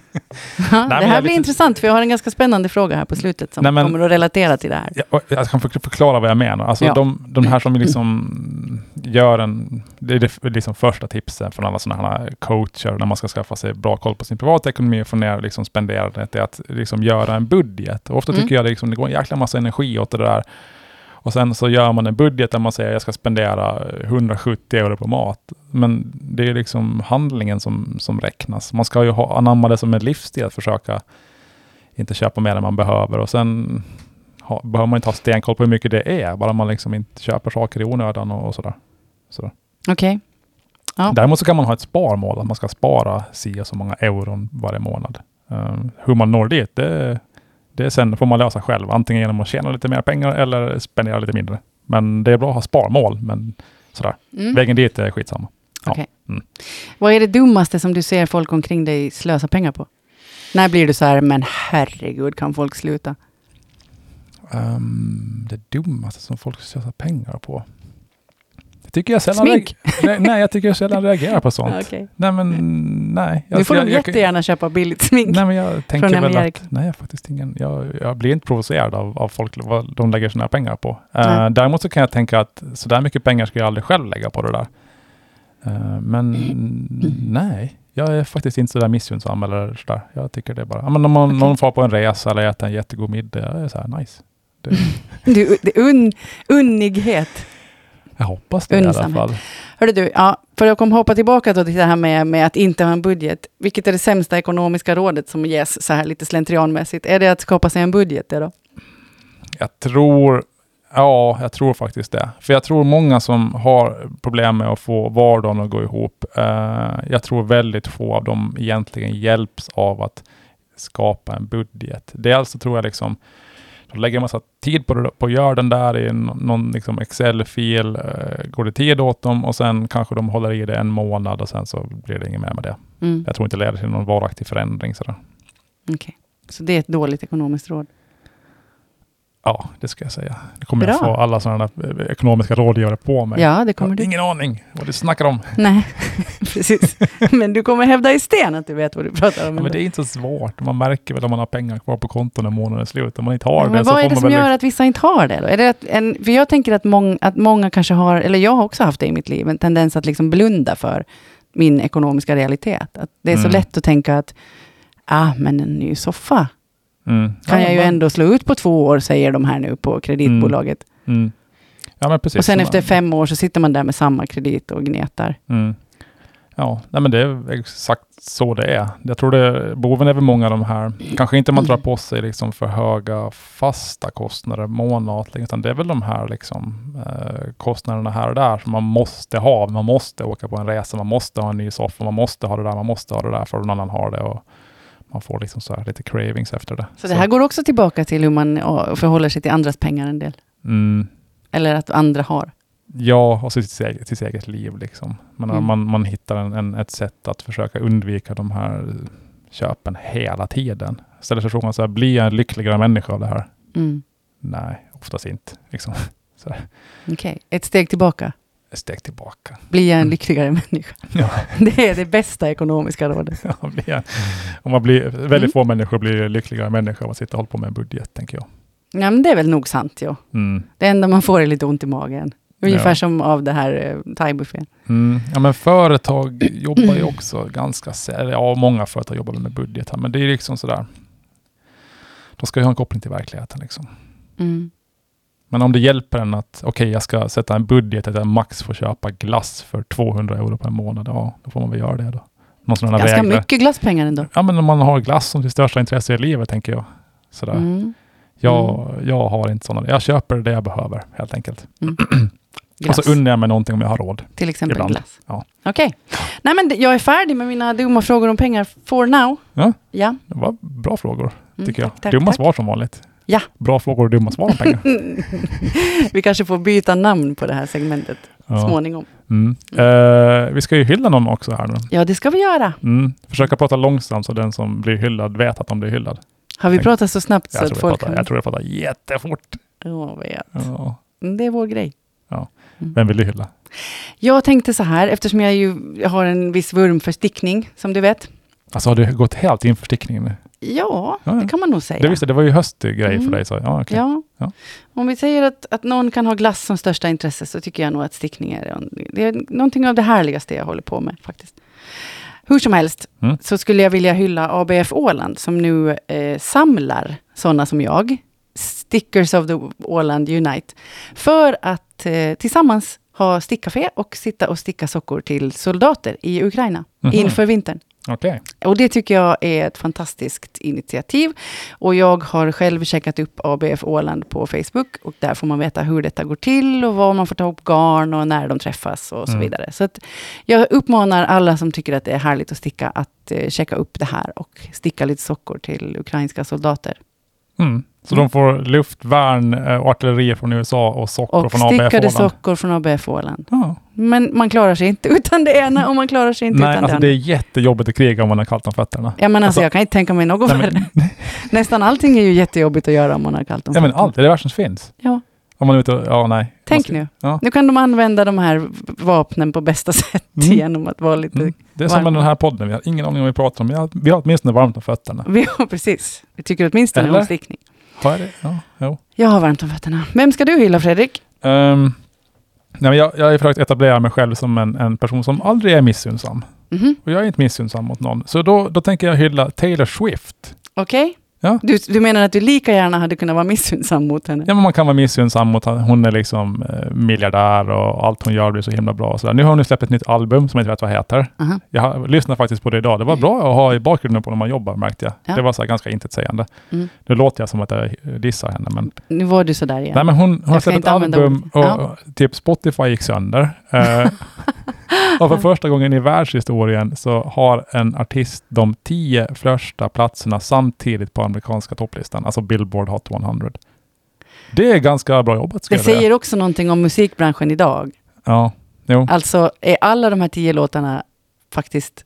Speaker 2: men
Speaker 1: det
Speaker 2: jag är
Speaker 1: här blir
Speaker 2: lite-
Speaker 1: intressant, för jag har en ganska spännande fråga här på slutet som
Speaker 2: Nej, men-
Speaker 1: kommer att relatera till det här.
Speaker 2: Ja, och Jag kan förk- förklara vad jag menar. Alltså
Speaker 1: Ja.
Speaker 2: de, de här som liksom gör en... Det är det f- liksom första tipsen från alla sådana här coacher när man ska skaffa sig bra koll på sin privatekonomi och få ner liksom spenderandet, det är att liksom göra en budget. Och ofta
Speaker 1: Mm.
Speaker 2: tycker jag det, liksom, det går en jäkla massa energi åt det där. Och sen så gör man en budget där man säger jag ska spendera 170 euro på mat. Men det är liksom handlingen som, som räknas. Man ska ju ha, anamma det som en livsstil att försöka inte köpa mer än man behöver. Och sen ha, behöver man inte ha stenkoll på hur mycket det är, bara man liksom inte köper saker i onödan och, och sådär.
Speaker 1: Okej. Ja.
Speaker 2: Däremot så kan man ha ett sparmål, att man ska spara si och så många euron varje månad. Ehm, hur man når dit, det, det är sen får man lösa själv, antingen genom att tjäna lite mer pengar eller spendera lite mindre. Men det är bra att ha sparmål, men sådär.
Speaker 1: Mm.
Speaker 2: Vägen dit är skitsamma.
Speaker 1: Vad är det dummaste som du ser folk omkring dig slösa pengar på? När blir du så här, men herregud, kan folk sluta?
Speaker 2: Ehm, det dummaste som folk slösar pengar på? Det tycker jag sällan
Speaker 1: Smink!
Speaker 2: reagerar, nej, jag tycker jag sällan reagerar
Speaker 1: *laughs*
Speaker 2: på sånt.
Speaker 1: Okej.
Speaker 2: Nej, men nej.
Speaker 1: Nu får
Speaker 2: jag,
Speaker 1: de
Speaker 2: jag- jag-
Speaker 1: jättegärna köpa billigt smink.
Speaker 2: Nej, men jag tänker
Speaker 1: Från
Speaker 2: väl
Speaker 1: Amerika.
Speaker 2: att, nej, jag har faktiskt ingen, jag, jag blir inte provocerad av, av folk, vad de lägger sina pengar på. Eh,
Speaker 1: Nej.
Speaker 2: däremot så kan jag tänka att så där mycket pengar ska jag aldrig själv lägga på det där. Eh,
Speaker 1: *clears throat*
Speaker 2: men nej, jag är faktiskt inte så där missunnsam eller så där. Jag tycker det är bara, ja, men om man,
Speaker 1: Okej.
Speaker 2: någon far på en resa eller äter en jättegod middag, jag är så här nice. Det,
Speaker 1: Du, det är un, unnighet.
Speaker 2: jag hoppas det i alla
Speaker 1: Unnsamhet.
Speaker 2: fall.
Speaker 1: Hörde du, ja, för jag kommer hoppa tillbaka då till det här med, med att inte ha en budget. Vilket är det sämsta ekonomiska rådet som ges så här lite slentrianmässigt? Är det att skapa sig en budget? Det då?
Speaker 2: Jag tror, ja, jag tror faktiskt det. För jag tror många som har problem med att få vardagen att gå ihop, eh, jag tror väldigt få av dem egentligen hjälps av att skapa en budget. Dels så tror jag liksom, de lägger en massa tid på, det- på att göra den där i n- någon liksom Excel-fil, eh, går det tid åt dem och sen kanske de håller i det en månad och sen så blir det inget mer med det.
Speaker 1: Mm,
Speaker 2: Jag tror inte det leder till någon varaktig förändring. Sådär.
Speaker 1: okej. Så det är ett dåligt ekonomiskt råd.
Speaker 2: Ja, det ska jag säga. Nu kommer jag
Speaker 1: Bra.
Speaker 2: få alla sådana där eh, ekonomiska rådgivare på mig.
Speaker 1: Ja, det kommer
Speaker 2: jag har
Speaker 1: du. Mm.
Speaker 2: ingen aning vad du snackar om.
Speaker 1: Nej, *laughs* precis. Men du kommer hävda i sten att du vet vad du pratar om.
Speaker 2: Ja, men det är inte så svårt. Man märker väl om man har pengar kvar på kontot när månaden är slut. Om man inte har
Speaker 1: Ja,
Speaker 2: det
Speaker 1: men
Speaker 2: så
Speaker 1: vad är
Speaker 2: får
Speaker 1: det
Speaker 2: man
Speaker 1: som
Speaker 2: väl...
Speaker 1: gör att vissa inte har det? Då? Är det att en, för jag tänker att, mång, att många kanske har, eller jag har också haft det i mitt liv, en tendens att liksom blunda för min ekonomiska realitet. Att det är så
Speaker 2: Mm.
Speaker 1: lätt att tänka att, ah, men en ny soffa
Speaker 2: Mm.
Speaker 1: kan
Speaker 2: ja,
Speaker 1: jag ju
Speaker 2: men-
Speaker 1: ändå slå ut på två år, säger de här nu på kreditbolaget.
Speaker 2: Mm. Ja, men precis.
Speaker 1: Och sen
Speaker 2: Så
Speaker 1: efter
Speaker 2: man-
Speaker 1: fem år så sitter man där med samma kredit och gnetar.
Speaker 2: Mm. Ja, nej men det är exakt så det är. Jag tror det, boven är väl många av de här, kanske inte man drar på sig liksom för höga fasta kostnader månatligen, utan det är väl de här liksom, eh, kostnaderna här och där som man måste ha. Man måste åka på en resa, man måste ha en ny soffa, man måste ha det där, man måste ha det där för någon annan har det. Och man får liksom så här lite cravings efter det.
Speaker 1: Så det här går också tillbaka till hur man ja, förhåller sig till andras pengar en del.
Speaker 2: mm,
Speaker 1: Eller att andra har.
Speaker 2: Ja, och så till sitt eget, till sitt eget liv. Liksom. Man,
Speaker 1: Mm.
Speaker 2: man, man hittar en, en, ett sätt att försöka undvika de här köpen hela tiden. Ställer sig frågan så här, blir jag en lyckligare människa av det här?
Speaker 1: Mm.
Speaker 2: Nej, oftast inte. Liksom. *laughs*
Speaker 1: Okej, ett steg tillbaka.
Speaker 2: Ett steg tillbaka. *laughs*
Speaker 1: Blir jag en
Speaker 2: Mm.
Speaker 1: lyckligare *laughs* människa?
Speaker 2: Ja.
Speaker 1: Det är det bästa ekonomiska rådet.
Speaker 2: Ja, blir jag- Om man blir, väldigt
Speaker 1: Mm.
Speaker 2: få människor blir lyckligare människor om man sitter och håller på med en budget, tänker jag.
Speaker 1: Ja, men det är väl nog sant. Jo.
Speaker 2: Mm.
Speaker 1: Det enda man får är lite ont i magen. Ungefär
Speaker 2: Ja.
Speaker 1: som av det här eh, thaibuffén.
Speaker 2: Mm. Ja, men företag jobbar ju också ganska sällan. Ja, många företag jobbar väl med budget här, men det är liksom sådär. De ska ju ha en koppling till verkligheten. Liksom.
Speaker 1: Mm.
Speaker 2: Men om det hjälper en att, okej, jag ska sätta en budget att jag max får köpa glass för 200 euro per månad, ja, då får man väl göra det då. Någon sån här
Speaker 1: Ganska
Speaker 2: väg där-
Speaker 1: mycket glasspengar ändå.
Speaker 2: Ja, men om man har glass som sitt största intresse i livet, tänker jag. Sådär.
Speaker 1: Mm.
Speaker 2: Jag, jag har inte sådana. Jag köper det jag behöver, helt enkelt.
Speaker 1: Glass,
Speaker 2: Och så unnar jag mig någonting om jag har råd.
Speaker 1: till exempel
Speaker 2: Alltså ibland.
Speaker 1: glass.
Speaker 2: Ja.
Speaker 1: Okej. Nej, men d- jag är färdig med mina dumma frågor om pengar for now.
Speaker 2: Ja.
Speaker 1: ja.
Speaker 2: Det var bra frågor,
Speaker 1: Mm,
Speaker 2: tycker jag.
Speaker 1: tack, tack,
Speaker 2: dumma
Speaker 1: tack.
Speaker 2: svar som vanligt.
Speaker 1: Ja.
Speaker 2: Bra frågor och dumma svar
Speaker 1: *laughs*
Speaker 2: om pengar.
Speaker 1: Vi kanske får byta namn på det här segmentet
Speaker 2: ja.
Speaker 1: småningom.
Speaker 2: mm. Eh, vi ska ju hylla någon också här nu.
Speaker 1: Ja, det ska vi göra.
Speaker 2: Mm. Försöka prata långsamt så den som blir hyllad vet att de blir hyllad.
Speaker 1: Har vi
Speaker 2: Tänk-
Speaker 1: pratat så snabbt så
Speaker 2: Jag
Speaker 1: att
Speaker 2: tror, jag
Speaker 1: folk
Speaker 2: pratar, jag tror jag pratar jättefort.
Speaker 1: Ja, vet.
Speaker 2: Ja.
Speaker 1: Mm, Det är vår grej.
Speaker 2: Vem vill du hylla?
Speaker 1: Jag tänkte så här, eftersom jag ju har en viss vurm för stickning, som du vet.
Speaker 2: Alltså har du gått helt in för stickningen nu?
Speaker 1: Ja,
Speaker 2: Ja, ja.
Speaker 1: det kan man nog säga.
Speaker 2: Mm. Det visste det var ju höstgrej
Speaker 1: Mm.
Speaker 2: för dig. Så. Ja, okej.
Speaker 1: Ja.
Speaker 2: Ja.
Speaker 1: Om vi säger att, att någon kan ha glass som största intresse, så tycker jag nog att stickning är, en- det är någonting av det härligaste jag håller på med faktiskt. Hur som helst,
Speaker 2: Mm.
Speaker 1: så skulle jag vilja hylla ABF Åland, som nu eh, samlar sådana som jag, Stickers of the Åland Unite, för att eh, tillsammans ha stickcafé och sitta och sticka sockor till soldater i Ukraina
Speaker 2: Mhm.
Speaker 1: inför vintern.
Speaker 2: Okej.
Speaker 1: Och det tycker jag är ett fantastiskt initiativ. Och jag har själv checkat upp ABF Åland på Facebook. Och där får man veta hur detta går till och var man får ta upp garn och när de träffas och så
Speaker 2: Mm.
Speaker 1: vidare. Så att jag uppmanar alla som tycker att det är härligt att sticka att eh, checka upp det här och sticka lite sockor till ukrainska soldater.
Speaker 2: Mm. Så de får luftvärn eh, och artilleri från USA och sockor
Speaker 1: Och
Speaker 2: från ABF
Speaker 1: stickade
Speaker 2: Åland?
Speaker 1: sockor från ABF Åland.
Speaker 2: Ja.
Speaker 1: Men man klarar sig inte *laughs* utan det ena och man klarar sig inte
Speaker 2: Nej,
Speaker 1: utan
Speaker 2: alltså
Speaker 1: det
Speaker 2: det är
Speaker 1: andra.
Speaker 2: jättejobbigt att kriga om man har kallt om fötterna.
Speaker 1: Ja, men alltså,
Speaker 2: alltså-
Speaker 1: jag kan inte tänka mig något
Speaker 2: Nej, men-
Speaker 1: värre. *laughs* Nästan allting är ju jättejobbigt att göra om man har kallt om
Speaker 2: Ja, men
Speaker 1: fötterna.
Speaker 2: allt, det är det värsta som finns.
Speaker 1: Ja.
Speaker 2: Om man är ute och, ja nej.
Speaker 1: Tänk
Speaker 2: Måste-
Speaker 1: nu.
Speaker 2: Ja.
Speaker 1: Nu kan de använda de här v- vapnen på bästa *laughs* sätt
Speaker 2: Mm.
Speaker 1: genom att vara lite... *laughs*
Speaker 2: Mm. Det är som med den här podden, vi har ingen aning om vad vi pratar om. Vi har, vi har åtminstone varmt om fötterna.
Speaker 1: Vi har precis. Vi tycker åtminstone
Speaker 2: Eller?
Speaker 1: om stickning.
Speaker 2: Har jag det? Ja, jo.
Speaker 1: Jag har varmt om fötterna. Vem ska du hylla, Fredrik?
Speaker 2: Ehm, nej, men jag, jag har ju försökt etablera mig själv som en, en person som aldrig är missunnsam.
Speaker 1: Mhm.
Speaker 2: Och jag är inte missunnsam mot någon. Så då, då tänker jag hylla Taylor Swift.
Speaker 1: Okej.
Speaker 2: Ja.
Speaker 1: Du, du menar att du lika gärna hade kunnat vara missunnsam mot henne?
Speaker 2: Ja, men man kan vara missunnsam mot henne. Hon är liksom eh, miljardär och allt hon gör blir så himla bra. Och sådär. Nu har hon ju släppt ett nytt album som jag inte vet vad heter.
Speaker 1: Aha.
Speaker 2: Jag har- lyssnade faktiskt på det idag. Det var bra att ha i bakgrunden på när man jobbar märkte jag.
Speaker 1: Ja.
Speaker 2: Det var så här ganska intetsägande.
Speaker 1: Mm.
Speaker 2: Nu låter jag som att jag eh, dissar henne, men
Speaker 1: Nu var du sådär igen.
Speaker 2: Nej, men hon, hon har
Speaker 1: Jag ska
Speaker 2: släppt ett
Speaker 1: inte använda
Speaker 2: album och
Speaker 1: ordet.
Speaker 2: typ Spotify gick sönder.
Speaker 1: *laughs*
Speaker 2: Eh, och för första gången i världshistorien så har en artist de tio första platserna samtidigt på amerikanska topplistan, alltså Billboard Hot 100. Det är ganska bra jobbat, ska
Speaker 1: det
Speaker 2: jag säga.
Speaker 1: säger också någonting om musikbranschen idag.
Speaker 2: Ja, jo.
Speaker 1: Alltså, är alla de här tio låtarna faktiskt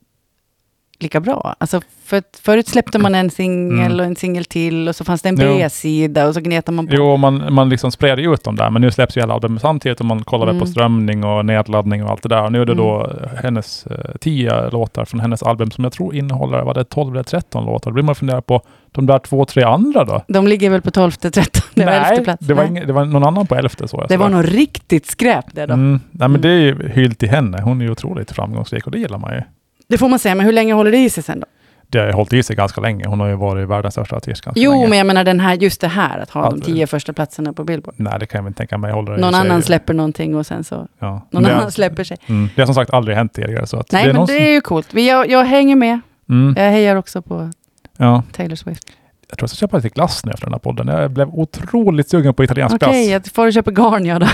Speaker 1: lika bra. Alltså för, att förut släppte man en singel
Speaker 2: Mm.
Speaker 1: och en singel till och så fanns det en
Speaker 2: Jo.
Speaker 1: B-sida och så gnetade man på.
Speaker 2: Jo, man, man liksom spred ju ut dem där, men nu släpps ju alla album samtidigt och man kollar väl på
Speaker 1: Mm.
Speaker 2: strömning och nedladdning och allt det där. Och nu är det
Speaker 1: Mm.
Speaker 2: då hennes eh, tio låtar från hennes album som jag tror innehåller, var det 12 eller 13 låtar? Då blir man fundera på de där två, tre andra då?
Speaker 1: De ligger väl på 12, 13,
Speaker 2: Nej,
Speaker 1: 11 plats.
Speaker 2: det var,
Speaker 1: Nej.
Speaker 2: ingen, det var någon annan på elfte så jag.
Speaker 1: det
Speaker 2: sådär.
Speaker 1: var nog riktigt skräp där då.
Speaker 2: Mm. Nej, men
Speaker 1: Mm.
Speaker 2: det är ju hyll till henne. Hon är ju otroligt framgångsrik och det gillar man ju.
Speaker 1: Det får man säga, men hur länge håller det i sig sen då?
Speaker 2: Det har ju hållit i sig ganska länge. Hon har ju varit världens största artist ganska
Speaker 1: Jo,
Speaker 2: länge.
Speaker 1: men jag menar den här, just det här, att ha
Speaker 2: Att-
Speaker 1: de tio första platserna på Billboard.
Speaker 2: Nej, det kan jag väl inte tänka mig. Håller det i
Speaker 1: Någon
Speaker 2: sig.
Speaker 1: annan släpper någonting och sen så,
Speaker 2: Ja.
Speaker 1: någon
Speaker 2: det,
Speaker 1: annan släpper sig.
Speaker 2: Mm. Det har som sagt aldrig hänt tidigare. Så att
Speaker 1: Nej,
Speaker 2: det är
Speaker 1: men
Speaker 2: någon
Speaker 1: det är ju coolt. Vi- Jag, jag hänger med.
Speaker 2: som- mm.
Speaker 1: Jag hejar också på
Speaker 2: ja.
Speaker 1: Taylor Swift.
Speaker 2: Jag tror jag ska köpa lite glass nu efter den här podden. Jag blev otroligt sugen på italiensk
Speaker 1: Okej,
Speaker 2: glass.
Speaker 1: jag får köpa garn jag då.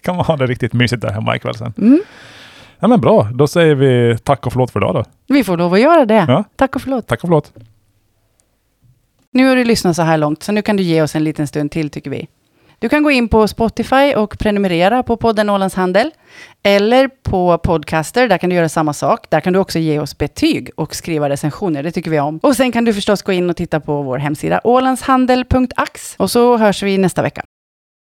Speaker 2: Kan man ha det riktigt mysigt där hemma ikväll sen.
Speaker 1: Mm.
Speaker 2: Ja, men bra, då säger vi tack och förlåt för idag då.
Speaker 1: Vi får lov att göra det.
Speaker 2: Ja.
Speaker 1: Tack och förlåt.
Speaker 2: Tack och förlåt.
Speaker 1: Nu har du lyssnat så här långt, så nu kan du ge oss en liten stund till tycker vi. Du kan gå in på Spotify och prenumerera på podden Ålands Handel. Eller på Podcaster, där kan du göra samma sak. Där kan du också ge oss betyg och skriva recensioner, det tycker vi om. Och sen kan du förstås gå in och titta på vår hemsida ålandshandel.ax. Och så hörs vi nästa vecka.